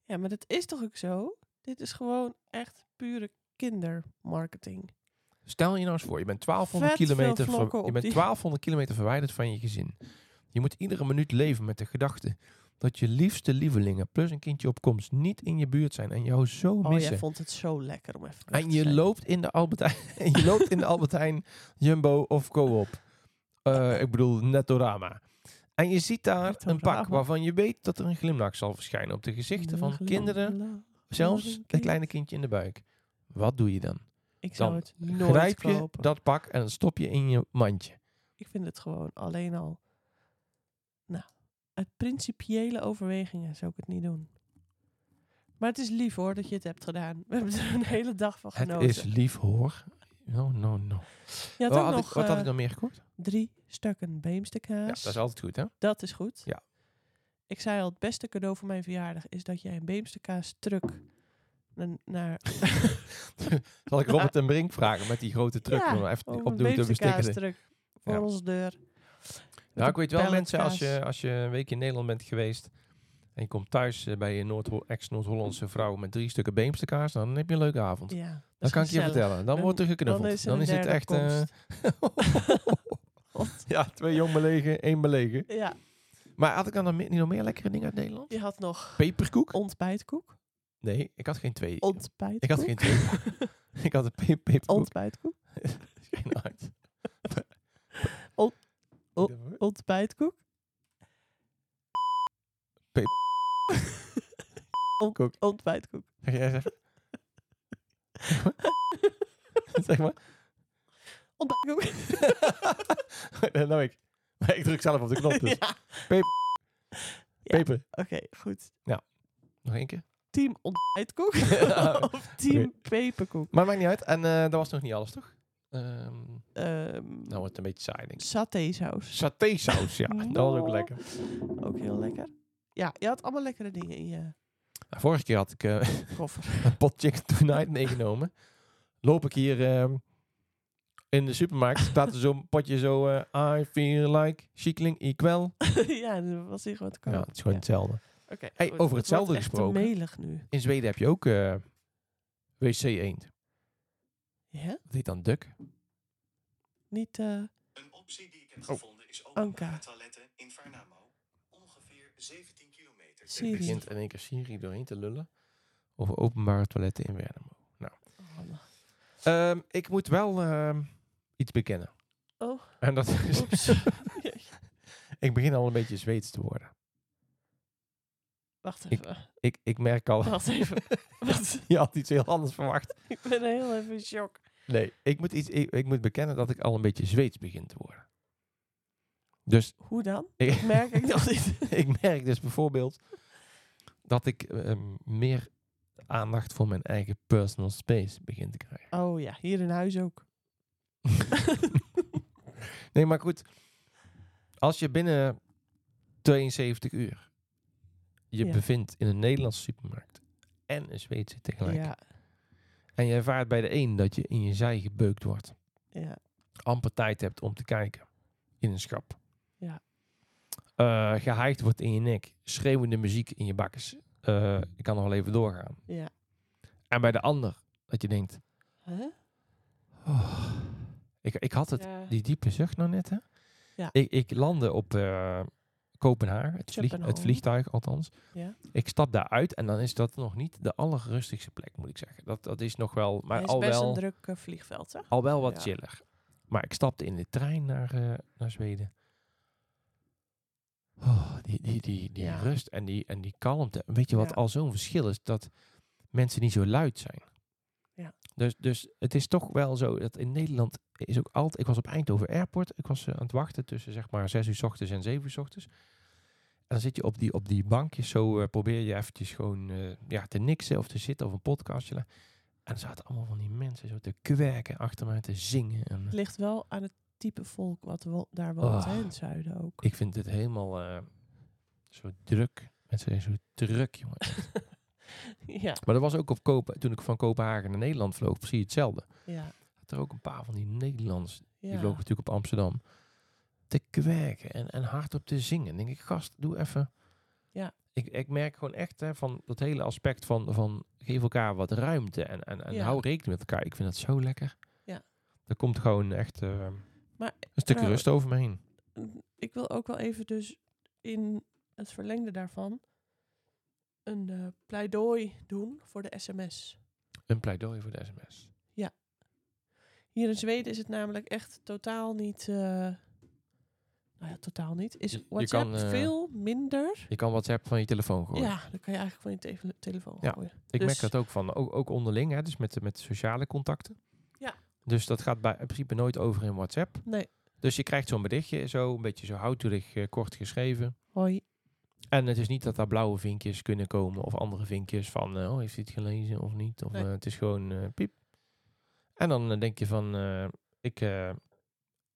Ja, maar dat is toch ook zo? Dit is gewoon echt pure kindermarketing.
Stel je nou eens voor, je bent 1200,
Vet veel
kilometer, ver-
vlokken op
je bent
die-
1200 kilometer verwijderd van je gezin. Je moet iedere minuut leven met de gedachte dat je liefste lievelingen plus een kindje op komst niet in je buurt zijn en jou zo
Oh, jij
missen.
vond het zo lekker om even weg
en
te
je
zijn.
loopt in de Albert Heijn, en je loopt in de Albert Heijn, Jumbo of Coop. Eh, ik bedoel Netorama. En je ziet daar een pak
Netorama.
waarvan je weet dat er een glimlach zal verschijnen op de gezichten van kinderen, zelfs het
kind.
kleine kindje in de buik. Wat doe je dan?
Ik zou
Dan
het nooit
grijp je
kopen.
dat pak en dan stop je in je mandje.
Ik vind het gewoon alleen al... Nou, uit principiële overwegingen zou ik het niet doen. Maar het is lief hoor dat je het hebt gedaan. We hebben er een hele dag van genoten.
Het is lief hoor. No, no, no.
Je had
Wat
ook
had,
nog
ik, wat had
eh,
ik dan meer gekocht?
drie stukken
Ja,
beemstekaas.
dat is altijd goed hè?
Dat is goed.
Ja.
Ik zei al, het beste cadeau voor mijn verjaardag is dat jij een beemsterkaas truck na- naar...
Zal ik Robert en Brink vragen met die grote truck?
Ja,
om even
over
op
een
de
beemsterkaas
bestikken.
truck voor
Ja.
onze deur.
Nou, ik weet wel
Pelletkaas.
mensen, als je, als je een week in Nederland bent geweest en je komt thuis eh, bij je Noord ex-Noord-Hollandse vrouw met drie stukken beemsterkaars, dan heb je een leuke avond.
Ja, dat,
dat
is
kan ik je
gezellig.
vertellen. Dan
Dan-
wordt er geknuffeld. Dan is,
er een
het
derde
echt... eh,
komst.
ja, twee jong belegen, één belegen.
Ja,
Maar had ik dan nog meer- niet nog meer lekkere dingen uit Nederland?
je had nog
Peperkoek?
ontbijtkoek.
Nee, ik had geen twee.
Ontbijtkoek.
Ik had geen twee. ik had een pe- peperkoek.
Ontbijtkoek.
Geen hart.
Ont- Ontbijtkoek.
Pe-
Ont-
Koek.
Ontbijtkoek.
Zeg jij eens even. zeg maar.
Ontbijtkoek.
dus. nou ik. Maar ik druk zelf op de knop dus.
Ja.
Pe- Peper.
Oké, goed.
Nog één keer.
Team ontbijtkoek of team peperkoek?
Maar maakt niet uit. En eh, dat was nog niet alles, toch? Ehm,
Ehm
nou, het een beetje saai, denk ik.
Satésaus.
Satésaus, ja. Dat was ook
No.
lekker.
Ook heel lekker. Ja, je had allemaal lekkere dingen in je
Nou, vorige keer had ik eh,
koffer.
een pot chicken tonight meegenomen. Loop ik hier ehm, in de supermarkt, staat er zo'n potje zo... eh, I feel like Chicling Equal.
ja, dat was hier gewoon te koop.
Ja, het is gewoon
Ja.
hetzelfde.
Oké,
Hey,
goed.
over
Het
hetzelfde
wordt echt te
gesproken.
melig nu.
In Zweden heb je ook eh, wc-eend.
Ja?
Dat heet dan duk.
Niet, eh,
Een optie die ik heb
Oh.
gevonden is openbare
Anka.
toiletten in Varnamo. Ongeveer 17 kilometer. ten
Syrië.
westen
begint in één keer Syrië doorheen te lullen. Over openbare toiletten in Wernemo.
oh, nou.
Ehm, ik moet wel ehm, iets bekennen.
Oh.
En dat is,
Oeps.
ik begin al een beetje Zweeds te worden.
Wacht
Ik-
even.
Ik, ik merk al,
Wacht even. Wat?
je had iets heel anders verwacht.
Ik ben heel even in shock.
Nee, ik moet, iets, ik, ik moet bekennen dat ik al een beetje Zweeds begin te worden. Dus
Hoe dan?
ik,
Merk ik nog niet.
ik merk dus bijvoorbeeld dat ik ehm, meer aandacht voor mijn eigen personal space begin te krijgen.
Oh ja, hier in huis ook.
nee, maar goed. Als je binnen 72 uur je
Ja.
bevindt in een Nederlandse supermarkt en een Zweedse tegelijk.
Ja,
En je ervaart bij de een dat je in je zij gebeukt wordt.
ja.
Amper tijd hebt om te kijken in een schap.
Ja.
Eh, gehaaid wordt in je nek. Schreeuwende muziek in je bakkes. Eh, ik kan nog wel even doorgaan.
Ja.
En bij de ander dat je denkt...
Huh?
"Oh." ik, ik had het
Ja.
die diepe zucht nou net, hè?
Ja.
Ik, ik landde op eh, Kopenhagen, het, vlieg- het
Copenhagen.
vliegtuig althans.
Ja.
Ik stap daar uit en dan is dat nog niet de allerrustigste plek, moet ik zeggen. Dat, dat is nog wel, maar
Het is
al
best
wel,
een druk eh, vliegveld, hè?
al wel wat
Ja.
chiller. Maar ik stapte in de trein naar, eh, naar Zweden. Oh, die die, die, die
Ja.
rust en die, en die kalmte. Weet je wat
Ja.
al zo'n verschil is? Dat mensen niet zo luid zijn.
Ja.
Dus, dus het is toch wel zo dat in Nederland is ook altijd... Ik was op Eindhoven Airport. Ik was eh, aan het wachten tussen zeg maar 6 uur 's ochtends en 7 uur 's ochtends. En dan zit je op die, op die bankjes. Zo eh, probeer je eventjes gewoon eh, ja, te niksen of te zitten of een podcastje. lu- En er zaten allemaal van die mensen zo te kwerken achter mij te zingen. En, eh,
Het ligt wel aan het type volk wat wo- daar woont, hè, in het zuiden ook.
Ah. ik vind het helemaal eh, zo druk. Mensen zijn zo druk, jongen.
ja,
Maar dat was ook op Kopen, toen ik van Kopenhagen naar Nederland vloog, precies hetzelfde.
ja,
Had er ook een paar van die Nederlanders, die
ja.
vlogen natuurlijk op Amsterdam, te kwerken en, en hardop te zingen. Dan denk ik, gast, doe even.
Ja.
Ik, ik merk gewoon echt hè, van dat hele aspect van, van geef elkaar wat ruimte en, en, en
Ja.
hou rekening met elkaar. Ik vind dat zo lekker.
Ja.
Er komt gewoon echt eh,
Maar,
een stuk
nou,
rust over me heen.
Mm, Ik wil ook wel even dus in het verlengde daarvan een eh, pleidooi doen voor de sms.
Een pleidooi voor de sms.
Hier in Zweden is het namelijk echt totaal niet... eh, nou ja, totaal niet. Is
Je- je
WhatsApp
kan, eh,
veel minder?
Je kan WhatsApp van je telefoon gooien.
Ja, dan kan je eigenlijk van je tele- telefoon
Ja.
gooien.
Ik merk
Dus-
dat ook van, ook, ook onderling, hè, dus met, met sociale contacten.
Ja.
Dus dat gaat bij, in principe nooit over in WhatsApp.
Nee.
Dus je krijgt zo'n berichtje, zo een beetje zo houterig eh, kort geschreven.
Hoi.
En het is niet dat daar blauwe vinkjes kunnen komen of andere vinkjes van, eh, oh, heeft hij het gelezen of niet? Of
Nee.
eh, het is gewoon eh, piep. En dan eh, denk je van, eh, ik, eh,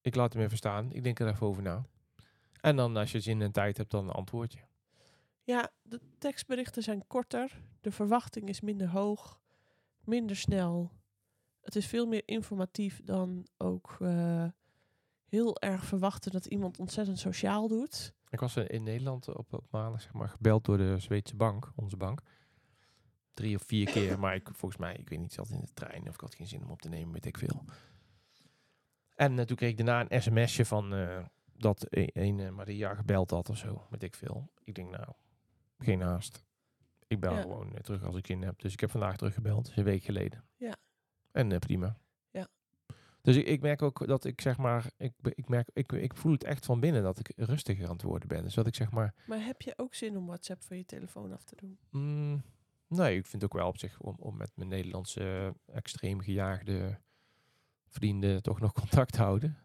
ik laat hem even staan, ik denk er even over na. En dan als je zin en tijd hebt, dan antwoord je.
Ja, de tekstberichten zijn korter. De verwachting is minder hoog. Minder snel. Het is veel meer informatief dan ook eh, heel erg verwachten dat iemand ontzettend sociaal doet.
Ik was eh, in Nederland op, op maandag zeg maar, gebeld door de Zweedse bank, onze bank. Drie of vier keer, maar ik, volgens mij, ik weet niet, ik zat in de trein of ik had geen zin om op te nemen, weet ik veel. En eh, toen kreeg ik daarna een sms'je van eh, dat e- een eh, Maria gebeld had of zo, weet ik veel. Ik denk nou, geen haast. Ik bel
Ja.
gewoon eh, terug als ik zin heb. Dus ik heb vandaag teruggebeld, dus een week geleden.
Ja.
En eh, prima.
Ja.
Dus ik, ik merk ook dat ik zeg maar, ik, be- ik, merk, ik, ik voel het echt van binnen dat ik rustiger aan het worden ben. Dus dat ik zeg maar,
Maar heb je ook zin om WhatsApp van je telefoon af te doen?
mm, nee, ik vind het ook wel op zich om, om met mijn Nederlandse eh, extreem gejaagde vrienden toch nog contact te houden.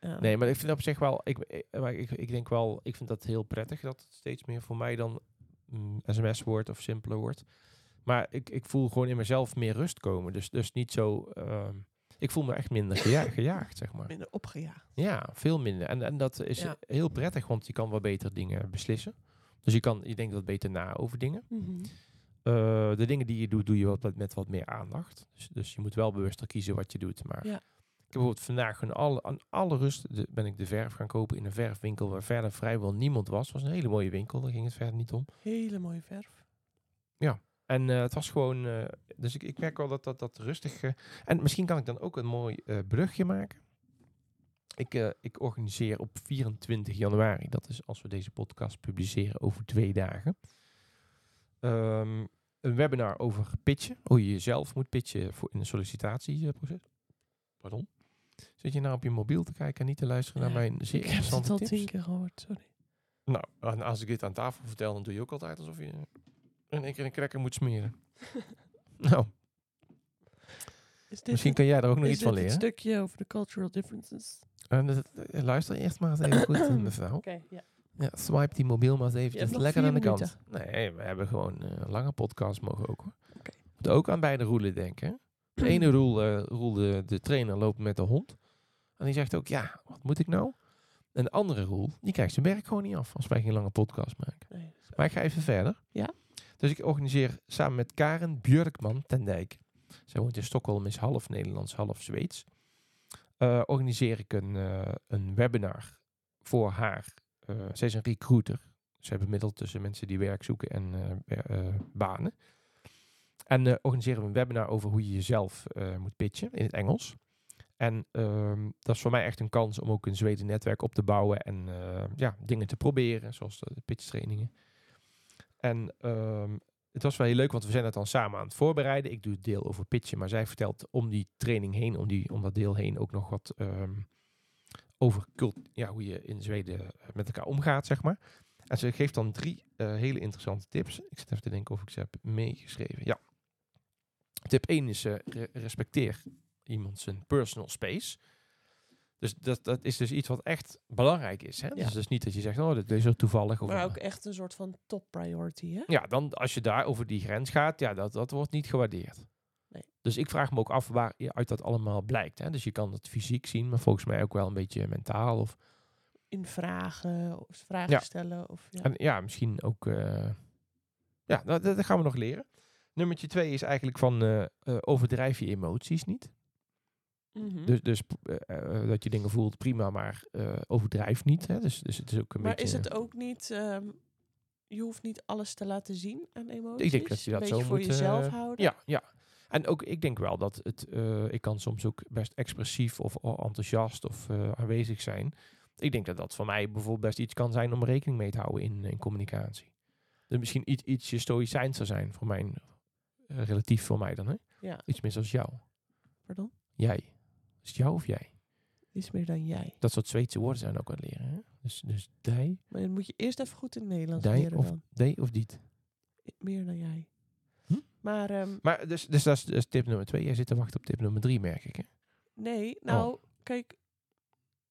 Ja.
Nee, maar ik vind dat op zich wel. Ik, ik, maar ik, ik denk wel, ik vind dat heel prettig dat het steeds meer voor mij dan mm, sms wordt of simpeler wordt. Maar ik, ik voel gewoon in mezelf meer rust komen. Dus, dus niet zo. ehm, ik voel me echt minder geja- gejaagd, zeg maar.
Minder opgejaagd.
Ja, veel minder. En, en dat is
Ja.
heel prettig, want je kan wel beter dingen beslissen. Dus je, kan, je denkt wat beter na over dingen.
Mhm.
Eh, de dingen die je doet, doe je wat, met wat meer aandacht. Dus, dus je moet wel bewuster kiezen wat je doet. Maar
Ja.
ik heb bijvoorbeeld vandaag gewoon alle, aan alle rust de- ben ik de verf gaan kopen in een verfwinkel waar verder vrijwel niemand was. Het was een hele mooie winkel, daar ging het verder niet om.
Hele mooie verf.
En eh, het was gewoon, eh, dus ik, ik merk wel dat dat, dat rustig. eh, en misschien kan ik dan ook een mooi eh brugje maken. Ik, eh, ik organiseer op 24 januari, dat is als we deze podcast publiceren over twee dagen, ehm, een webinar over pitchen. Hoe je jezelf moet pitchen voor in een sollicitatieproces. Pardon. Zit je nou op je mobiel te kijken en niet te luisteren naar
Ja,
mijn zeer
ik heb het
interessante
al
tips?
tien keer gehoord, sorry.
Nou, en als ik dit aan tafel vertel, dan doe je ook altijd alsof je in één keer een cracker moet smeren. nou,
Is dit
misschien
het,
kan jij daar ook nog
is
iets van
dit het
leren.
stukje over de cultural differences?
En dat- eh, luister eerst maar eens even goed, eh, mevrouw.
ja.
Ja, swipe die mobiel maar eens eventjes
nog
lekker
vier
aan de kant.
minuten.
Nee, we hebben gewoon eh, een lange podcast mogen ook hoor.
Oké.
Moet ook aan beide roelen denken. hè. De ene roel, eh, roel de, de trainer loopt met de hond. En die zegt ook, ja, wat moet ik nou? En de andere roel, die krijgt zijn werk gewoon niet af als wij geen lange podcast maken.
Nee, dat is-
Maar ik ga even verder.
Ja.
Dus ik organiseer samen met Karen Björkman ten Dijk. Zij woont in Stockholm, is half Nederlands, half Zweeds. Eh, organiseer ik een, eh, een webinar voor haar. Eh, zij is een recruiter. Zij bemiddelt tussen mensen die werk zoeken en eh, wer- eh, banen. En eh, organiseren we een webinar over hoe je jezelf eh, moet pitchen in het Engels. En ehm, dat is voor mij echt een kans om ook een Zweden netwerk op te bouwen en eh, ja, dingen te proberen, zoals de pitchtrainingen. En ehm, het was wel heel leuk, want we zijn het dan samen aan het voorbereiden. Ik doe het deel over pitchen, maar zij vertelt om die training heen, om, die, om dat deel heen ook nog wat ehm, over cult, ja, hoe je in Zweden eh, met elkaar omgaat, zeg maar. En ze geeft dan drie eh, hele interessante tips. Ik zit even te denken of ik ze heb meegeschreven. Ja. Tip 1 is eh, re- respecteer iemand zijn personal space. Dus dat, dat is dus iets wat echt belangrijk is. Hè?
Ja.
Dus, dus niet dat je zegt, oh, dit is zo toevallig. Of
Maar
eh,
ook echt een soort van top priority, hè?
ja, dan als je daar over die grens gaat, ja, dat, dat wordt niet gewaardeerd.
Nee.
Dus ik vraag me ook af waar je uit dat allemaal blijkt. Hè? Dus je kan het fysiek zien, maar volgens mij ook wel een beetje mentaal. Of,
In vragen, of vragen
Ja.
stellen. Of, ja.
En ja, misschien ook. eh, ja, dat, dat gaan we nog leren. Nummertje twee is eigenlijk van eh, eh, overdrijf je emoties niet.
Mhm.
Dus, dus eh, eh, dat je dingen voelt, prima, maar eh, overdrijf niet. Hè? Dus, dus het is ook een
maar
beetje.
is het ook niet... ehm, je hoeft niet alles te laten zien aan emoties.
dat je dat
Een beetje
zo
voor
moet,
jezelf
eh,
houden.
Ja, ja. En ook, ik denk wel dat het, eh, ik kan soms ook best expressief of o- enthousiast of eh, aanwezig zijn. Ik denk dat dat voor mij bijvoorbeeld best iets kan zijn om rekening mee te houden in, in communicatie. Dus misschien iets, ietsje stoïcijns zou zijn voor mijn, eh, relatief voor mij dan, hè?
Ja.
Iets meer zoals jou.
Pardon?
Jij. Is het jou of jij?
Iets meer dan jij.
Dat soort Zweedse woorden zijn ook aan het leren, hè? Dus, dus die,
Maar dan moet je eerst even goed in het Nederlands
die
leren
of,
dan.
die of dit.
I- Meer dan jij.
Hm?
Maar ehm,
Maar dus, dus dat is dat is tip nummer twee. Jij zit te wachten op tip nummer drie, merk ik, hè?
nee, nou,
Oh.
kijk,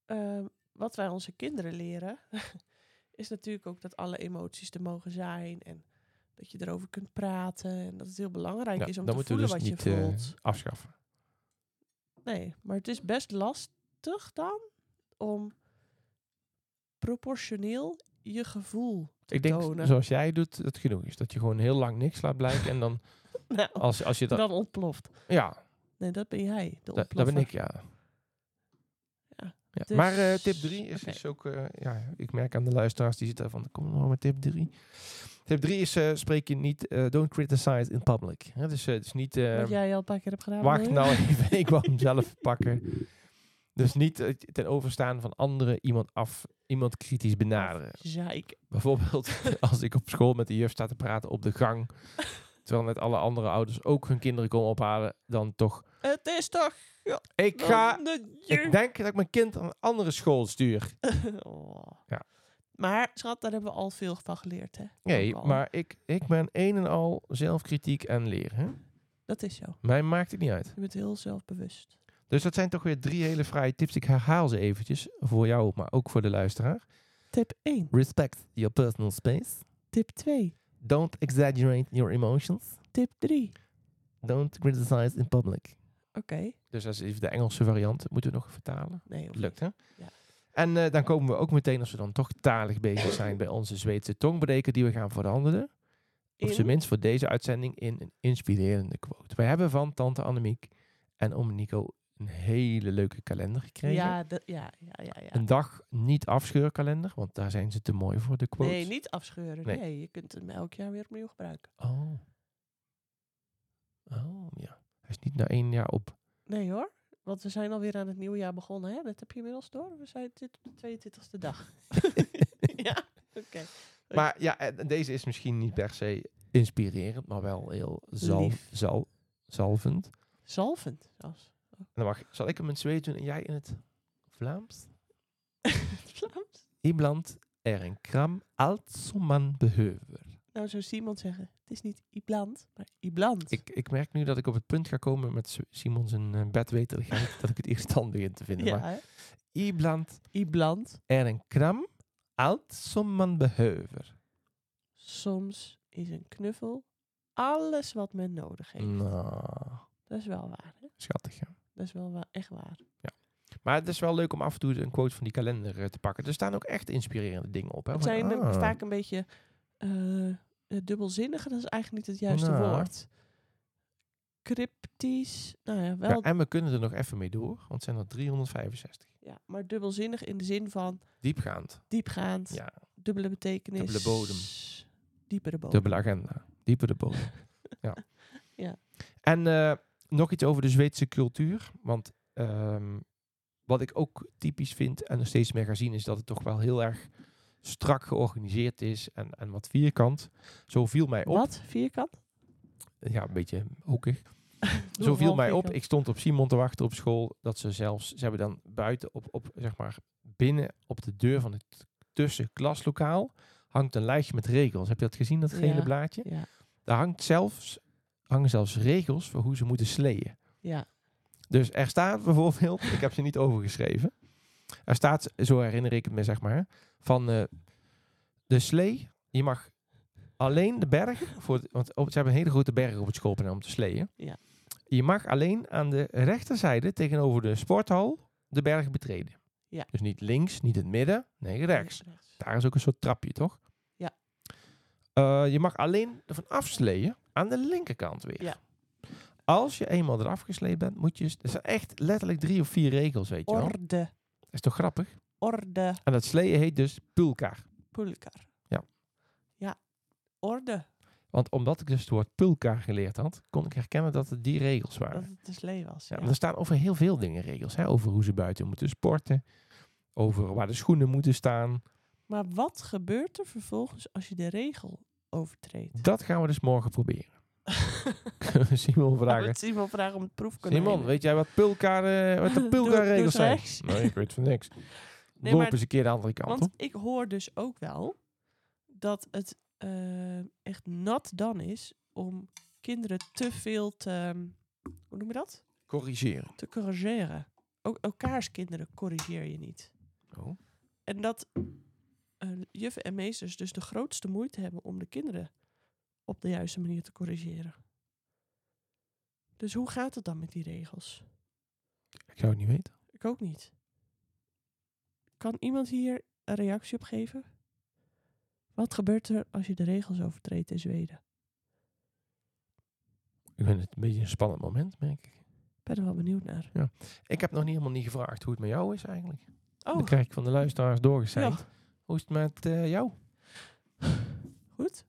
ehm, wat wij onze kinderen leren, is natuurlijk ook dat alle emoties er mogen zijn en dat je erover kunt praten en dat het heel belangrijk
Ja,
is om
dan
te
moeten
voelen
we
wat
dus
je
niet, eh,
voelt.
Afschaffen.
Nee, maar het is best lastig dan om proportioneel je gevoel te
Ik denk,
tonen.
zoals jij doet, dat genoeg is. Dat je gewoon heel lang niks laat blijken. en dan,
Nou,
als, als je dat...
dan ontploft.
ja,
Nee, dat ben jij, de
dat, dat ben
ontploffer.
ik, ja.
Ja,
Ja,
dus-
maar eh, tip 3 is
oké.
dus ook... eh, ja, ik merk aan de luisteraars, die zitten van... Kom maar met tip 3. Tip 3 is, eh, spreek je niet... eh, don't criticize in public. Hè, dus, het dus niet... eh,
Wat jij al een paar keer hebt gedaan.
Wacht
bedoel je?
nou even, ik wou hem zelf pakken. Dus niet eh, ten overstaan van anderen iemand af... Iemand kritisch benaderen.
Zeik.
Bijvoorbeeld als ik op school met de juf sta te praten op de gang. Terwijl net alle andere ouders ook hun kinderen komen ophalen. Dan toch.
Het is toch...
Ik ga.
dan de
Ik
jeugd.
denk dat ik mijn kind naar een andere school stuur.
Oh.
Ja.
Maar, schat, daar hebben we al veel van geleerd, hè?
Nee,
Ook al.
maar ik, ik ben een en al zelfkritiek en leren. hè.
Dat is zo.
Mij maakt het niet uit.
Je bent heel zelfbewust.
Dus dat zijn toch weer drie hele fraaie tips. Ik herhaal ze eventjes. Voor jou, maar ook voor de luisteraar.
Tip 1.
Respect your personal space.
Tip 2.
Don't exaggerate your emotions.
Tip 3. Oké.
Don't criticize in public. Dus dat is even de Engelse variant. Moeten we nog vertalen?
Nee, of
Lukt, hè?
Ja.
En eh, dan komen we ook meteen, als we dan toch talig bezig zijn, bij onze Zweedse tongbreker die we gaan veranderen. Op
in.
zijn minst voor deze uitzending in een inspirerende quote. We hebben van tante Annemiek en om Nico een hele leuke kalender gekregen.
Ja, dat- ja, ja, ja. ja.
Een dag niet afscheurkalender, want daar zijn ze te mooi voor, de quotes.
Nee, niet afscheuren.
Nee.
Nee. je kunt hem elk jaar weer opnieuw gebruiken.
Oh. Oh, ja. Hij is niet na één jaar op.
Nee hoor, want we zijn alweer aan het nieuwe jaar begonnen. Hè? Dat heb je inmiddels door. We zijn dit op de 22e dag. ja, oké.
Maar ja, en deze is misschien niet per se inspirerend, maar wel heel zal,
Lief.
zal, zalvend.
Zalvend zelfs.
En dan mag, zal ik hem in het Zweeds doen en jij in het Vlaams?
Het Vlaams.
Ibland er een kram als som man behöver.
Nou, zou Simon zeggen, het is niet Ibland, maar Ibland.
Ik, ik merk nu dat ik op het punt ga komen met S- Simon zijn eh, bedweterigheid, dat ik het irritant begin te vinden.
ja,
Maar
hè?
Ibland
Ibland.
er een kram als som man behöver.
Soms is een knuffel alles wat men nodig heeft.
Nou,
Dat is wel waar, hè?
schattig ja.
Dat is wel wa- echt waar.
Maar het is wel leuk om af en toe een quote van die kalender eh, te pakken. Er staan ook echt inspirerende dingen op. Hè?
Het
Van,
zijn eh,
ah,
vaak een beetje eh, eh, dubbelzinnige. Dat is eigenlijk niet het juiste
Nou.
woord. Cryptisch. Nou ja, wel.
ja, en we kunnen er nog even mee door, want het zijn er 365.
ja, maar dubbelzinnig in de zin van
Diepgaand.
diepgaand,
Ja,
dubbele betekenis.
Dubbele bodem.
Diepere bodem.
dubbele agenda. Dieper de boven. ja.
Ja.
En eh, nog iets over de Zweedse cultuur. Want ehm, wat ik ook typisch vind en nog steeds meer ga zien, is dat het toch wel heel erg strak georganiseerd is en, en wat vierkant. Zo viel mij op.
Wat? Vierkant?
Ja, een beetje hoekig.
Doe
Zo viel
half
mij op.
vierkant.
Ik stond op Simon te wachten op school. Dat ze zelfs, ze hebben dan buiten op, op zeg maar binnen op de deur van het tussenklaslokaal hangt een lijstje met regels. Heb je dat gezien, dat gele
Ja.
blaadje?
Ja,
Daar hangt zelfs, hangen zelfs regels voor hoe ze moeten sleeën.
ja.
Dus er staat bijvoorbeeld, ik heb ze niet overgeschreven. Er staat, zo herinner ik het me zeg maar, van eh, de slee. Je mag alleen de berg, voor het- want op, ze hebben een hele grote berg op het schoolplein om te sleeën.
Ja.
Je mag alleen aan de rechterzijde tegenover de sporthal de berg betreden.
Ja.
Dus niet links, niet het midden, nee rechts. Daar is ook een soort trapje, toch?
Ja.
Eh, je mag alleen ervan afsleeën aan de linkerkant weer.
Ja.
Als je eenmaal eraf gesleept bent, moet je... Er zijn echt letterlijk drie of vier regels, weet je wel.
Orde.
Dat is toch grappig?
Orde.
En dat sleeën heet dus pulkar.
Pulkar.
Ja.
Ja. Orde.
Want omdat ik dus het woord pulkar geleerd had, kon ik herkennen dat het die regels waren.
Dat het de slee was.
Ja, dus-
Ja.
maar Er staan over heel veel dingen regels. Hè? Over hoe ze buiten moeten sporten. Over waar de schoenen moeten staan.
Maar wat gebeurt er vervolgens als je de regel overtreedt?
Dat gaan we dus morgen proberen. Kunnen we Simon vragen.
Het Simon vragen om het proefkonijn.
Simon, weet jij wat, pulkar, eh, wat de
Doe- doe
pulkarregels
het
zijn?
rechts.
Nee, ik weet van niks.
maar-
Lopen eens een keer de andere kant
Want
op.
ik hoor dus ook wel dat het eh, echt nat dan is om kinderen te veel te, ehm, hoe noem je dat?
Corrigeren.
Te corrigeren. Ook elkaars kinderen corrigeer je niet.
Oh.
En dat eh, juffen en meesters dus de grootste moeite hebben om de kinderen op de juiste manier te corrigeren. Dus hoe gaat het dan met die regels?
Ik zou het niet weten.
Ik ook niet. Kan iemand hier een reactie op geven? Wat gebeurt er als je de regels overtreedt in Zweden?
Ik vind het een beetje een spannend moment, merk ik.
Ik ben er wel benieuwd naar.
Ik heb nog niet helemaal niet gevraagd hoe het met jou is eigenlijk.
Oh,
Dat krijg ik van de luisteraars doorgezeind.
ja.
Hoe is het met eh, jou?
Goed.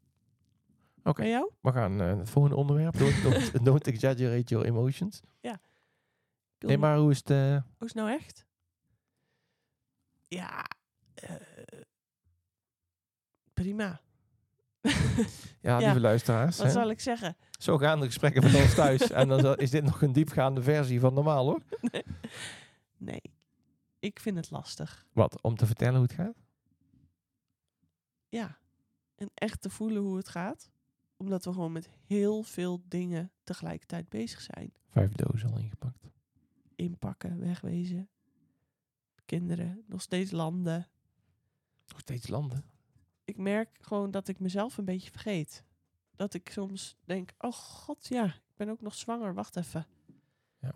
Oké.
En jou?
We gaan eh, naar het volgende onderwerp. Don't, don't, don't exaggerate your emotions.
Ik wil
Nee,
niet-
maar hoe is het... eh,
Hoe is het nou echt? Ja. eh, prima.
ja,
Ja.
lieve luisteraars.
Wat
Hè?
zal ik zeggen?
Zo gaan de gesprekken met ons thuis. en dan zal- is dit nog een diepgaande versie van normaal, hoor.
Nee. Ik vind het lastig.
Wat, om te vertellen hoe het gaat?
Ja. En echt te voelen hoe het gaat. Omdat we gewoon met heel veel dingen tegelijkertijd bezig zijn.
Vijf dozen al ingepakt.
inpakken, wegwezen. Kinderen, nog steeds landen.
Nog steeds landen.
Ik merk gewoon dat ik mezelf een beetje vergeet. Dat ik soms denk, oh god ja, ik ben ook nog zwanger, wacht even.
Ja.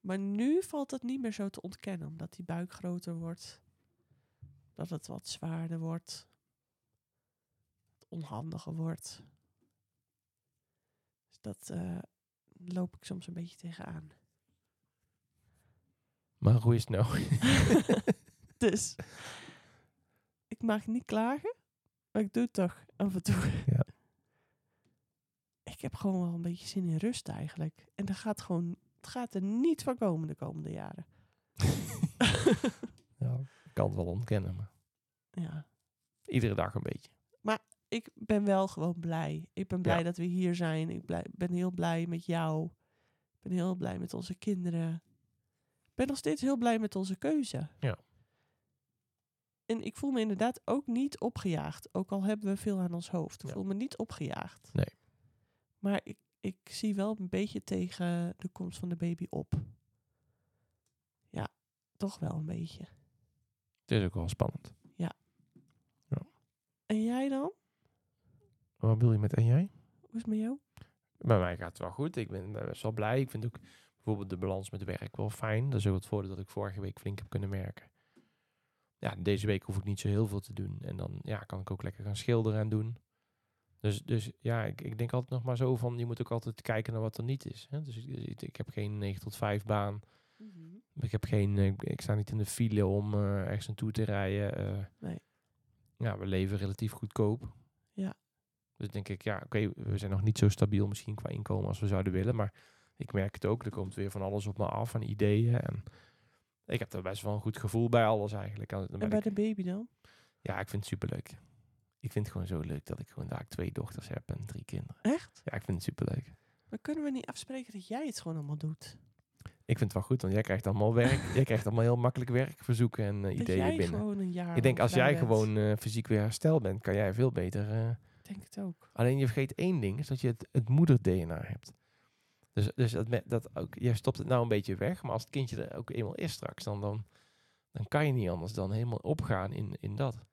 Maar nu valt dat niet meer zo te ontkennen, omdat die buik groter wordt. Dat het wat zwaarder wordt. Het onhandiger wordt. Dus dat eh, loop ik soms een beetje tegenaan.
Maar hoe is het nou?
dus ik mag niet klagen, maar ik doe het toch af en toe.
Ja.
Ik heb gewoon wel een beetje zin in rust eigenlijk. En dat gaat gewoon, het gaat er niet van komen de komende jaren.
ja, ik kan het wel ontkennen, maar
ja.
iedere dag een beetje.
Ik ben wel gewoon blij. Ik ben blij
Ja.
dat we hier zijn. Ik blij- ben heel blij met jou. Ik ben heel blij met onze kinderen. Ik ben nog steeds heel blij met onze keuze.
Ja.
En ik voel me inderdaad ook niet opgejaagd. Ook al hebben we veel aan ons hoofd. Ik
Ja.
voel me niet opgejaagd.
Nee.
Maar ik, ik zie wel een beetje tegen de komst van de baby op. Ja, toch wel een beetje.
Het is ook wel spannend.
En jij dan?
Wat bedoel je met en jij?
Hoe is het met jou?
Bij mij gaat het wel goed. Ik ben eh, best wel blij. Ik vind ook bijvoorbeeld de balans met werk wel fijn. Dat is ook het voordeel dat ik vorige week flink heb kunnen merken. Ja, deze week hoef ik niet zo heel veel te doen. En dan ja, kan ik ook lekker gaan schilderen en doen. Dus, dus ja, ik, ik denk altijd nog maar zo van... je moet ook altijd kijken naar wat er niet is. Hè? Dus ik, ik, ik heb geen 9 tot 5 baan. Ik, heb geen, eh, ik, ik sta niet in de file om eh, ergens naartoe te rijden. eh.
Nee.
Ja, we leven relatief goedkoop.
Ja.
Dus denk ik, ja, oké, we zijn nog niet zo stabiel misschien qua inkomen als we zouden willen. Maar ik merk het ook, er komt weer van alles op me af aan ideeën. En ik heb er best wel een goed gevoel bij alles eigenlijk. En dan ben
En bij
ik-
de baby dan?
ja, ik vind het superleuk. Ik vind het gewoon zo leuk dat ik gewoon daar twee dochters heb en drie kinderen.
Echt?
Ja, ik vind het superleuk.
Maar kunnen we niet afspreken dat jij het gewoon allemaal doet?
Ik vind het wel goed, want jij krijgt allemaal werk. jij krijgt allemaal heel makkelijk werkverzoeken en eh,
dat
ideeën
jij
binnen.
gewoon een jaar.
Ik denk, als jij
vrij bent.
gewoon eh, fysiek weer hersteld bent, kan jij veel beter. eh,
Ik denk het ook.
alleen je vergeet één ding, is dat je het, het moeder-DNA hebt. Dus, dus dat, me- dat ook, jij stopt het nou een beetje weg, maar als het kindje er ook eenmaal is straks, dan, dan, dan kan je niet anders dan helemaal opgaan in, in dat.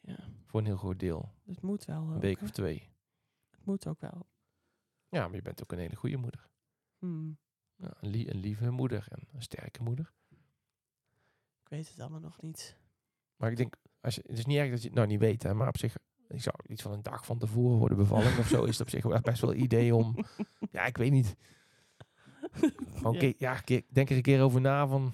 Ja,
Voor een heel groot deel,
dat moet wel.
een
ook,
week
hè.
of twee.
Het moet ook wel.
Ja, maar je bent ook een hele goede moeder.
Hmm,
Ja, een, lie- een lieve moeder en een sterke moeder.
Ik weet het allemaal nog niet.
Maar ik denk, als je, het is niet erg dat je het nou niet weet, hè, maar op zich, ik zou iets van een dag van tevoren worden bevallen of zo, is het op zich wel best wel een idee om, ja, ik weet niet. Gewoon,
Ja.
ja, ja ke- denk er een keer over na van,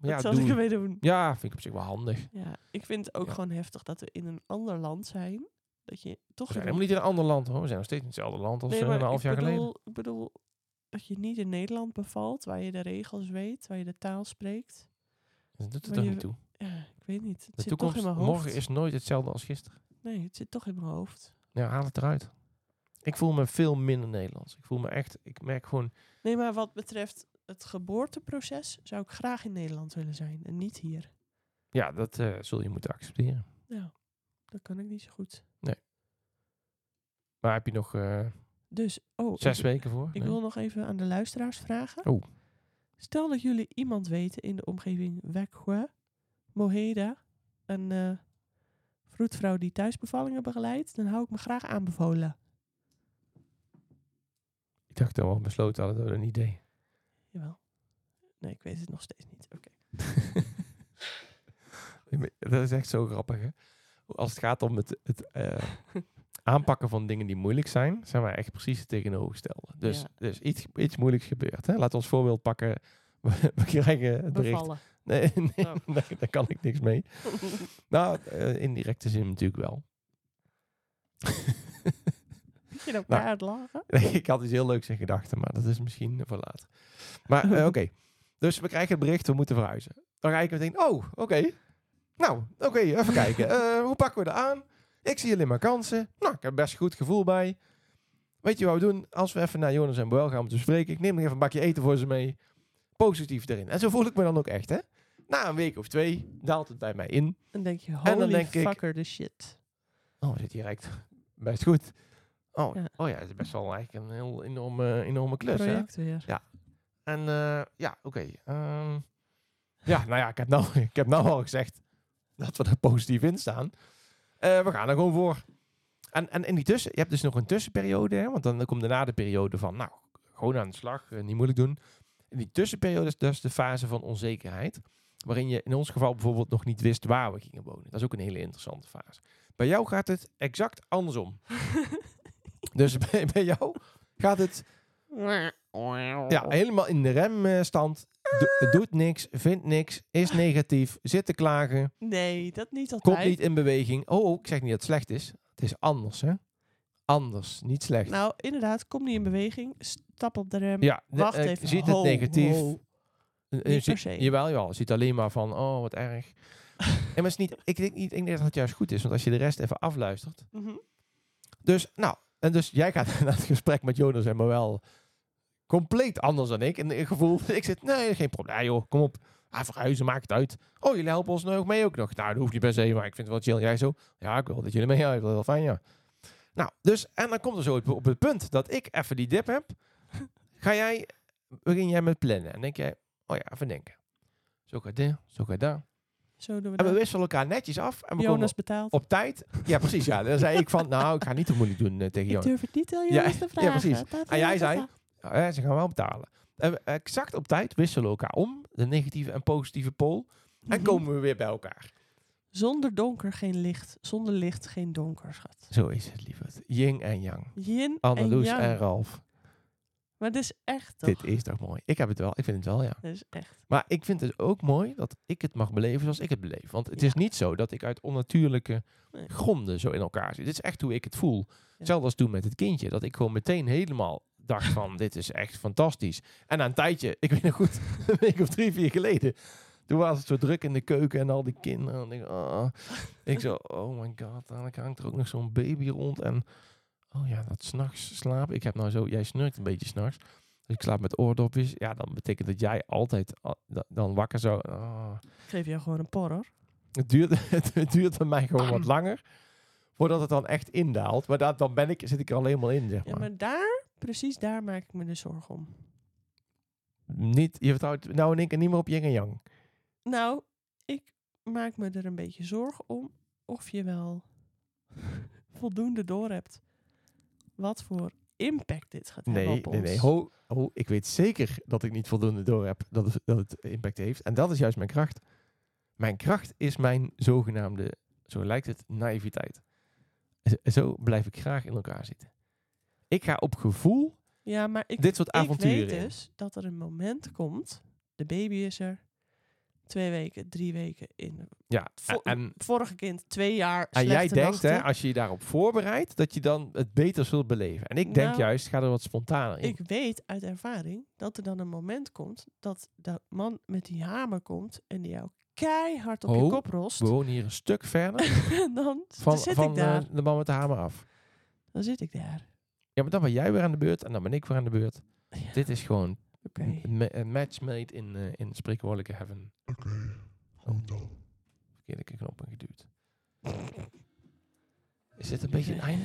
ja,
Wat zal ik
doen.
ermee doen?
Ja, vind ik op zich wel handig.
Ja, ik vind het ook
Ja.
gewoon heftig dat we in een ander land zijn. Dat je toch.
We zijn
in een-
helemaal niet in een ander land hoor, we zijn nog steeds in hetzelfde land als
Nee,
eh,
maar
een half
ik
jaar
bedoel,
geleden.
Ik bedoel, dat je niet in Nederland bevalt, waar je de regels weet, waar je de taal spreekt.
Dat doet het
maar
toch
je-
niet toe.
Ja, ik weet niet. Het
De
zit toch
toekomst,
in mijn hoofd.
morgen is nooit hetzelfde als gisteren.
Nee, het zit toch in mijn hoofd.
Ja, haal het eruit. Ik voel me veel minder Nederlands. Ik voel me echt, ik merk gewoon,
Nee, maar wat betreft het geboorteproces zou ik graag in Nederland willen zijn en niet hier.
ja, dat eh, zul je moeten accepteren.
Nou, dat kan ik niet zo goed.
Maar heb je nog eh,
Dus, oh,
zes
ik,
weken voor?
ik
Nee?
wil nog even aan de luisteraars vragen.
Oh.
Stel dat jullie iemand weten in de omgeving Wekwe, Moheda, een eh vroedvrouw die thuisbevallingen begeleidt, dan hou ik me graag aanbevolen.
Ik dacht dat we al besloten hadden dat we een idee.
Jawel. Nee, ik weet het nog steeds niet. Oké.
Ik me- dat is echt zo grappig, hè? Als het gaat om het, het eh, aanpakken van dingen die moeilijk zijn, zijn wij echt precies het tegenovergestelde. Dus,
Ja.
dus iets, iets moeilijks gebeurt. Hè? Laten we ons voorbeeld pakken. We we krijgen het bericht.
Bevallen.
Nee, nee
Nou.
daar, daar kan ik niks mee. Nou, eh, in directe zin natuurlijk wel.
Moet je elkaar nou. lachen?
Nee, ik had iets heel leuks in gedachten, maar dat is misschien voor later. Maar eh, oké, dus we krijgen het bericht, we moeten verhuizen. Dan ga ik meteen, oh, oké. Nou, oké, even kijken. Eh, hoe pakken we dat aan? Ik zie alleen maar kansen. Nou, ik heb best een goed gevoel bij. Weet je wat we doen? Als we even naar Jonas en Boel gaan om te spreken, ik neem nog even een bakje eten voor ze mee. Positief erin. En zo voel ik me dan ook echt, hè? Na een week of twee daalt het bij mij in.
Dan denk je,
dan
holy
denk ik-
fucker de shit.
Oh, we zitten hier echt best goed. Oh
Ja.
ja, oh, ja het is best wel eigenlijk een heel enorme, enorme klus, hè?
project weer.
Ja. En eh, ja, oké. ehm, ja, nou ja, ik heb, nou, ik heb nou al gezegd dat we er positief in staan. Eh, we gaan er gewoon voor. En, en in die tussen, je hebt dus nog een tussenperiode, hè, want dan komt daarna de periode van, nou, gewoon aan de slag, eh, niet moeilijk doen. In die tussenperiode is dus de fase van onzekerheid, waarin je in ons geval bijvoorbeeld nog niet wist waar we gingen wonen. Dat is ook een hele interessante fase. Bij jou gaat het exact andersom. dus bij, bij jou gaat het ja, helemaal in de remstand.
Ah.
doet niks, vindt niks, is negatief, zit te klagen,
Nee, dat niet altijd.
komt niet in beweging. Oh, oh, ik zeg niet dat het slecht is. Het is anders, hè? Anders, niet slecht.
Nou, inderdaad, kom niet in beweging. Stap op de rem.
ja,
wacht
eh,
even.
Ziet het
Ho,
negatief.
ho. Niet
Eh, je
per
ziet-
se.
Jawel, jawel. Je ziet alleen maar van, oh, wat erg. en maar het is niet, ik, denk niet, ik denk dat het juist goed is, want als je de rest even afluistert.
Mhm.
Dus, nou, en dus jij gaat naar het gesprek met Jonas en Moel compleet anders dan ik. En het gevoel, ik zit, nee, geen probleem, Ah, joh, kom op. Ah, verhuizen, maakt het uit. Oh, jullie helpen ons nog mee ook nog. Nou, dat hoeft niet per se, maar ik vind het wel chill. Jij zo, ja, ik wil dat jullie meehelpen, dat is wel fijn, ja. Nou, dus, en dan komt er zo op, op het punt dat ik even die dip heb. Ga jij, begin jij met plannen. En denk jij, oh ja, even denken. Zo gaat dit, zo gaat dat.
Zo doen we
En we
dat.
wisselen elkaar netjes af. En we komen Oh,
Jonas betaalt.
op tijd. Ja, precies, ja. Dan zei ik van, nou, ik ga niet te moeilijk doen eh, tegen
Ik
Jonas.
durf het niet aan
Ja,
Jonas te
ja,
vragen.
precies.
Dat
En jij
is-
zei- Ja, hè, ze gaan wel betalen. En we- exact op tijd wisselen we elkaar om, de negatieve en positieve pool. En
Mhm.
komen we weer bij elkaar.
Zonder donker geen licht. Zonder licht geen donker, schat.
Zo is het, lieverd. Ying en Yang.
Yin en
Anneloes en,
yang.
Ralf.
Maar dit is echt toch?
Dit is toch mooi? Ik heb het wel. Ik vind het wel, ja.
Dit is echt.
Maar ik vind het ook mooi dat ik het mag beleven zoals ik het beleef. Want het
Ja.
is niet zo dat ik uit onnatuurlijke
Nee.
gronden zo in elkaar zit. Dit is echt hoe ik het voel.
Ja.
Hetzelfde als toen met het kindje. Dat ik gewoon meteen helemaal dacht van, dit is echt fantastisch. En na een tijdje, ik weet nog goed, een week of drie, vier geleden. Toen was het zo druk in de keuken en al die kinderen. En ik, ah. ik zo, oh my god, dadelijk hangt er ook nog zo'n baby rond. En oh ja, dat s'nachts slapen. Ik heb nou zo, jij snurkt een beetje s'nachts. Dus ik slaap met oordopjes. Ja, dan betekent dat jij altijd al- da- dan wakker zou... ah.
Ik geef jou gewoon een porrer.
Het duurt, het duurt bij mij gewoon wat langer. Voordat het dan echt indaalt. Maar dat, dan ben ik, zit ik er al helemaal in, zeg maar.
Ja, maar daar, precies daar maak ik me de zorgen om.
Niet, je vertrouwt nou in één keer niet meer op yin en yang.
Nou, ik maak me er een beetje zorgen om of je wel voldoende door hebt wat voor impact dit gaat hebben
Nee,
op
nee,
ons.
nee. Ho, ho, ik weet zeker dat ik niet voldoende door heb dat het, dat het impact heeft. En dat is juist mijn kracht. Mijn kracht is mijn zogenaamde, zo lijkt het, naïviteit. Z- Zo blijf ik graag in elkaar zitten. Ik ga op gevoel
Ja, maar ik,
dit soort
ik
avonturen
weet
in.
dus dat er een moment komt, de baby is er, twee weken, drie weken in.
Ja,
Vo-
en
Vorige kind, twee jaar
En jij
slechte
denkt, hè,
nachten.
als je je daarop voorbereidt, dat je dan het beter zult beleven. En ik denk
Nou,
juist, ga er wat spontaner in.
Ik weet uit ervaring dat er dan een moment komt dat de man met die hamer komt en die jou keihard op
Ho,
je kop rost.
We wonen hier een stuk verder
En dan
van,
zit
van
ik daar.
eh, de man met de hamer af.
Dan zit ik daar.
Ja, maar dan ben jij weer aan de beurt en dan ben ik weer aan de beurt.
Ja,
Dit is gewoon
Oké.
een ma- een match made in, eh in spreekwoordelijke heaven. Oké, Verkeerde knoppen geduwd. Is dit een beetje een einde?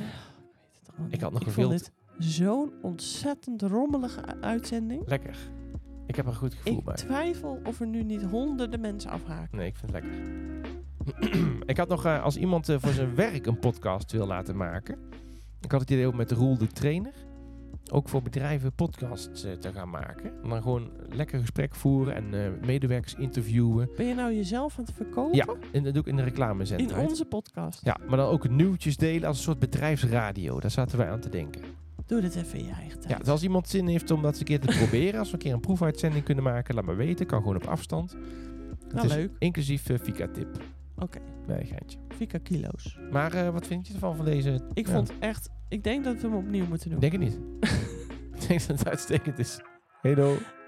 Ik had nog
ik
gewild.
vond dit zo'n ontzettend rommelige u- uitzending.
Lekker. Ik heb er een goed gevoel
Ik
bij.
twijfel of er nu niet honderden mensen afhaken.
Nee, ik vind het lekker. ik had nog, eh, als iemand eh, voor zijn werk een podcast wil laten maken. Ik had het idee om met Roel de Trainer. Ook voor bedrijven podcasts eh, te gaan maken. En dan gewoon lekker gesprek voeren en eh, medewerkers interviewen.
Ben je nou jezelf aan het verkopen?
Ja, en dat doe ik in de
In
reclamezendheid.
onze podcast.
Ja, maar dan ook nieuwtjes delen als een soort bedrijfsradio. Daar zaten wij aan te denken.
Doe dit even in je eigen tijd.
Ja, dus als iemand zin heeft om dat eens een keer te proberen. Als we een keer een proefuitzending kunnen maken, laat maar weten. Kan gewoon op afstand. Het
nou,
is
leuk.
Inclusief eh, Fika-tip.
Oké.
Nee, geintje.
Fika kilo's.
Maar eh, wat vind je ervan van deze
Ik
Ja.
vond echt... Ik denk dat we hem opnieuw moeten doen.
Ik denk het niet. ik denk dat het uitstekend is. Hey, doei.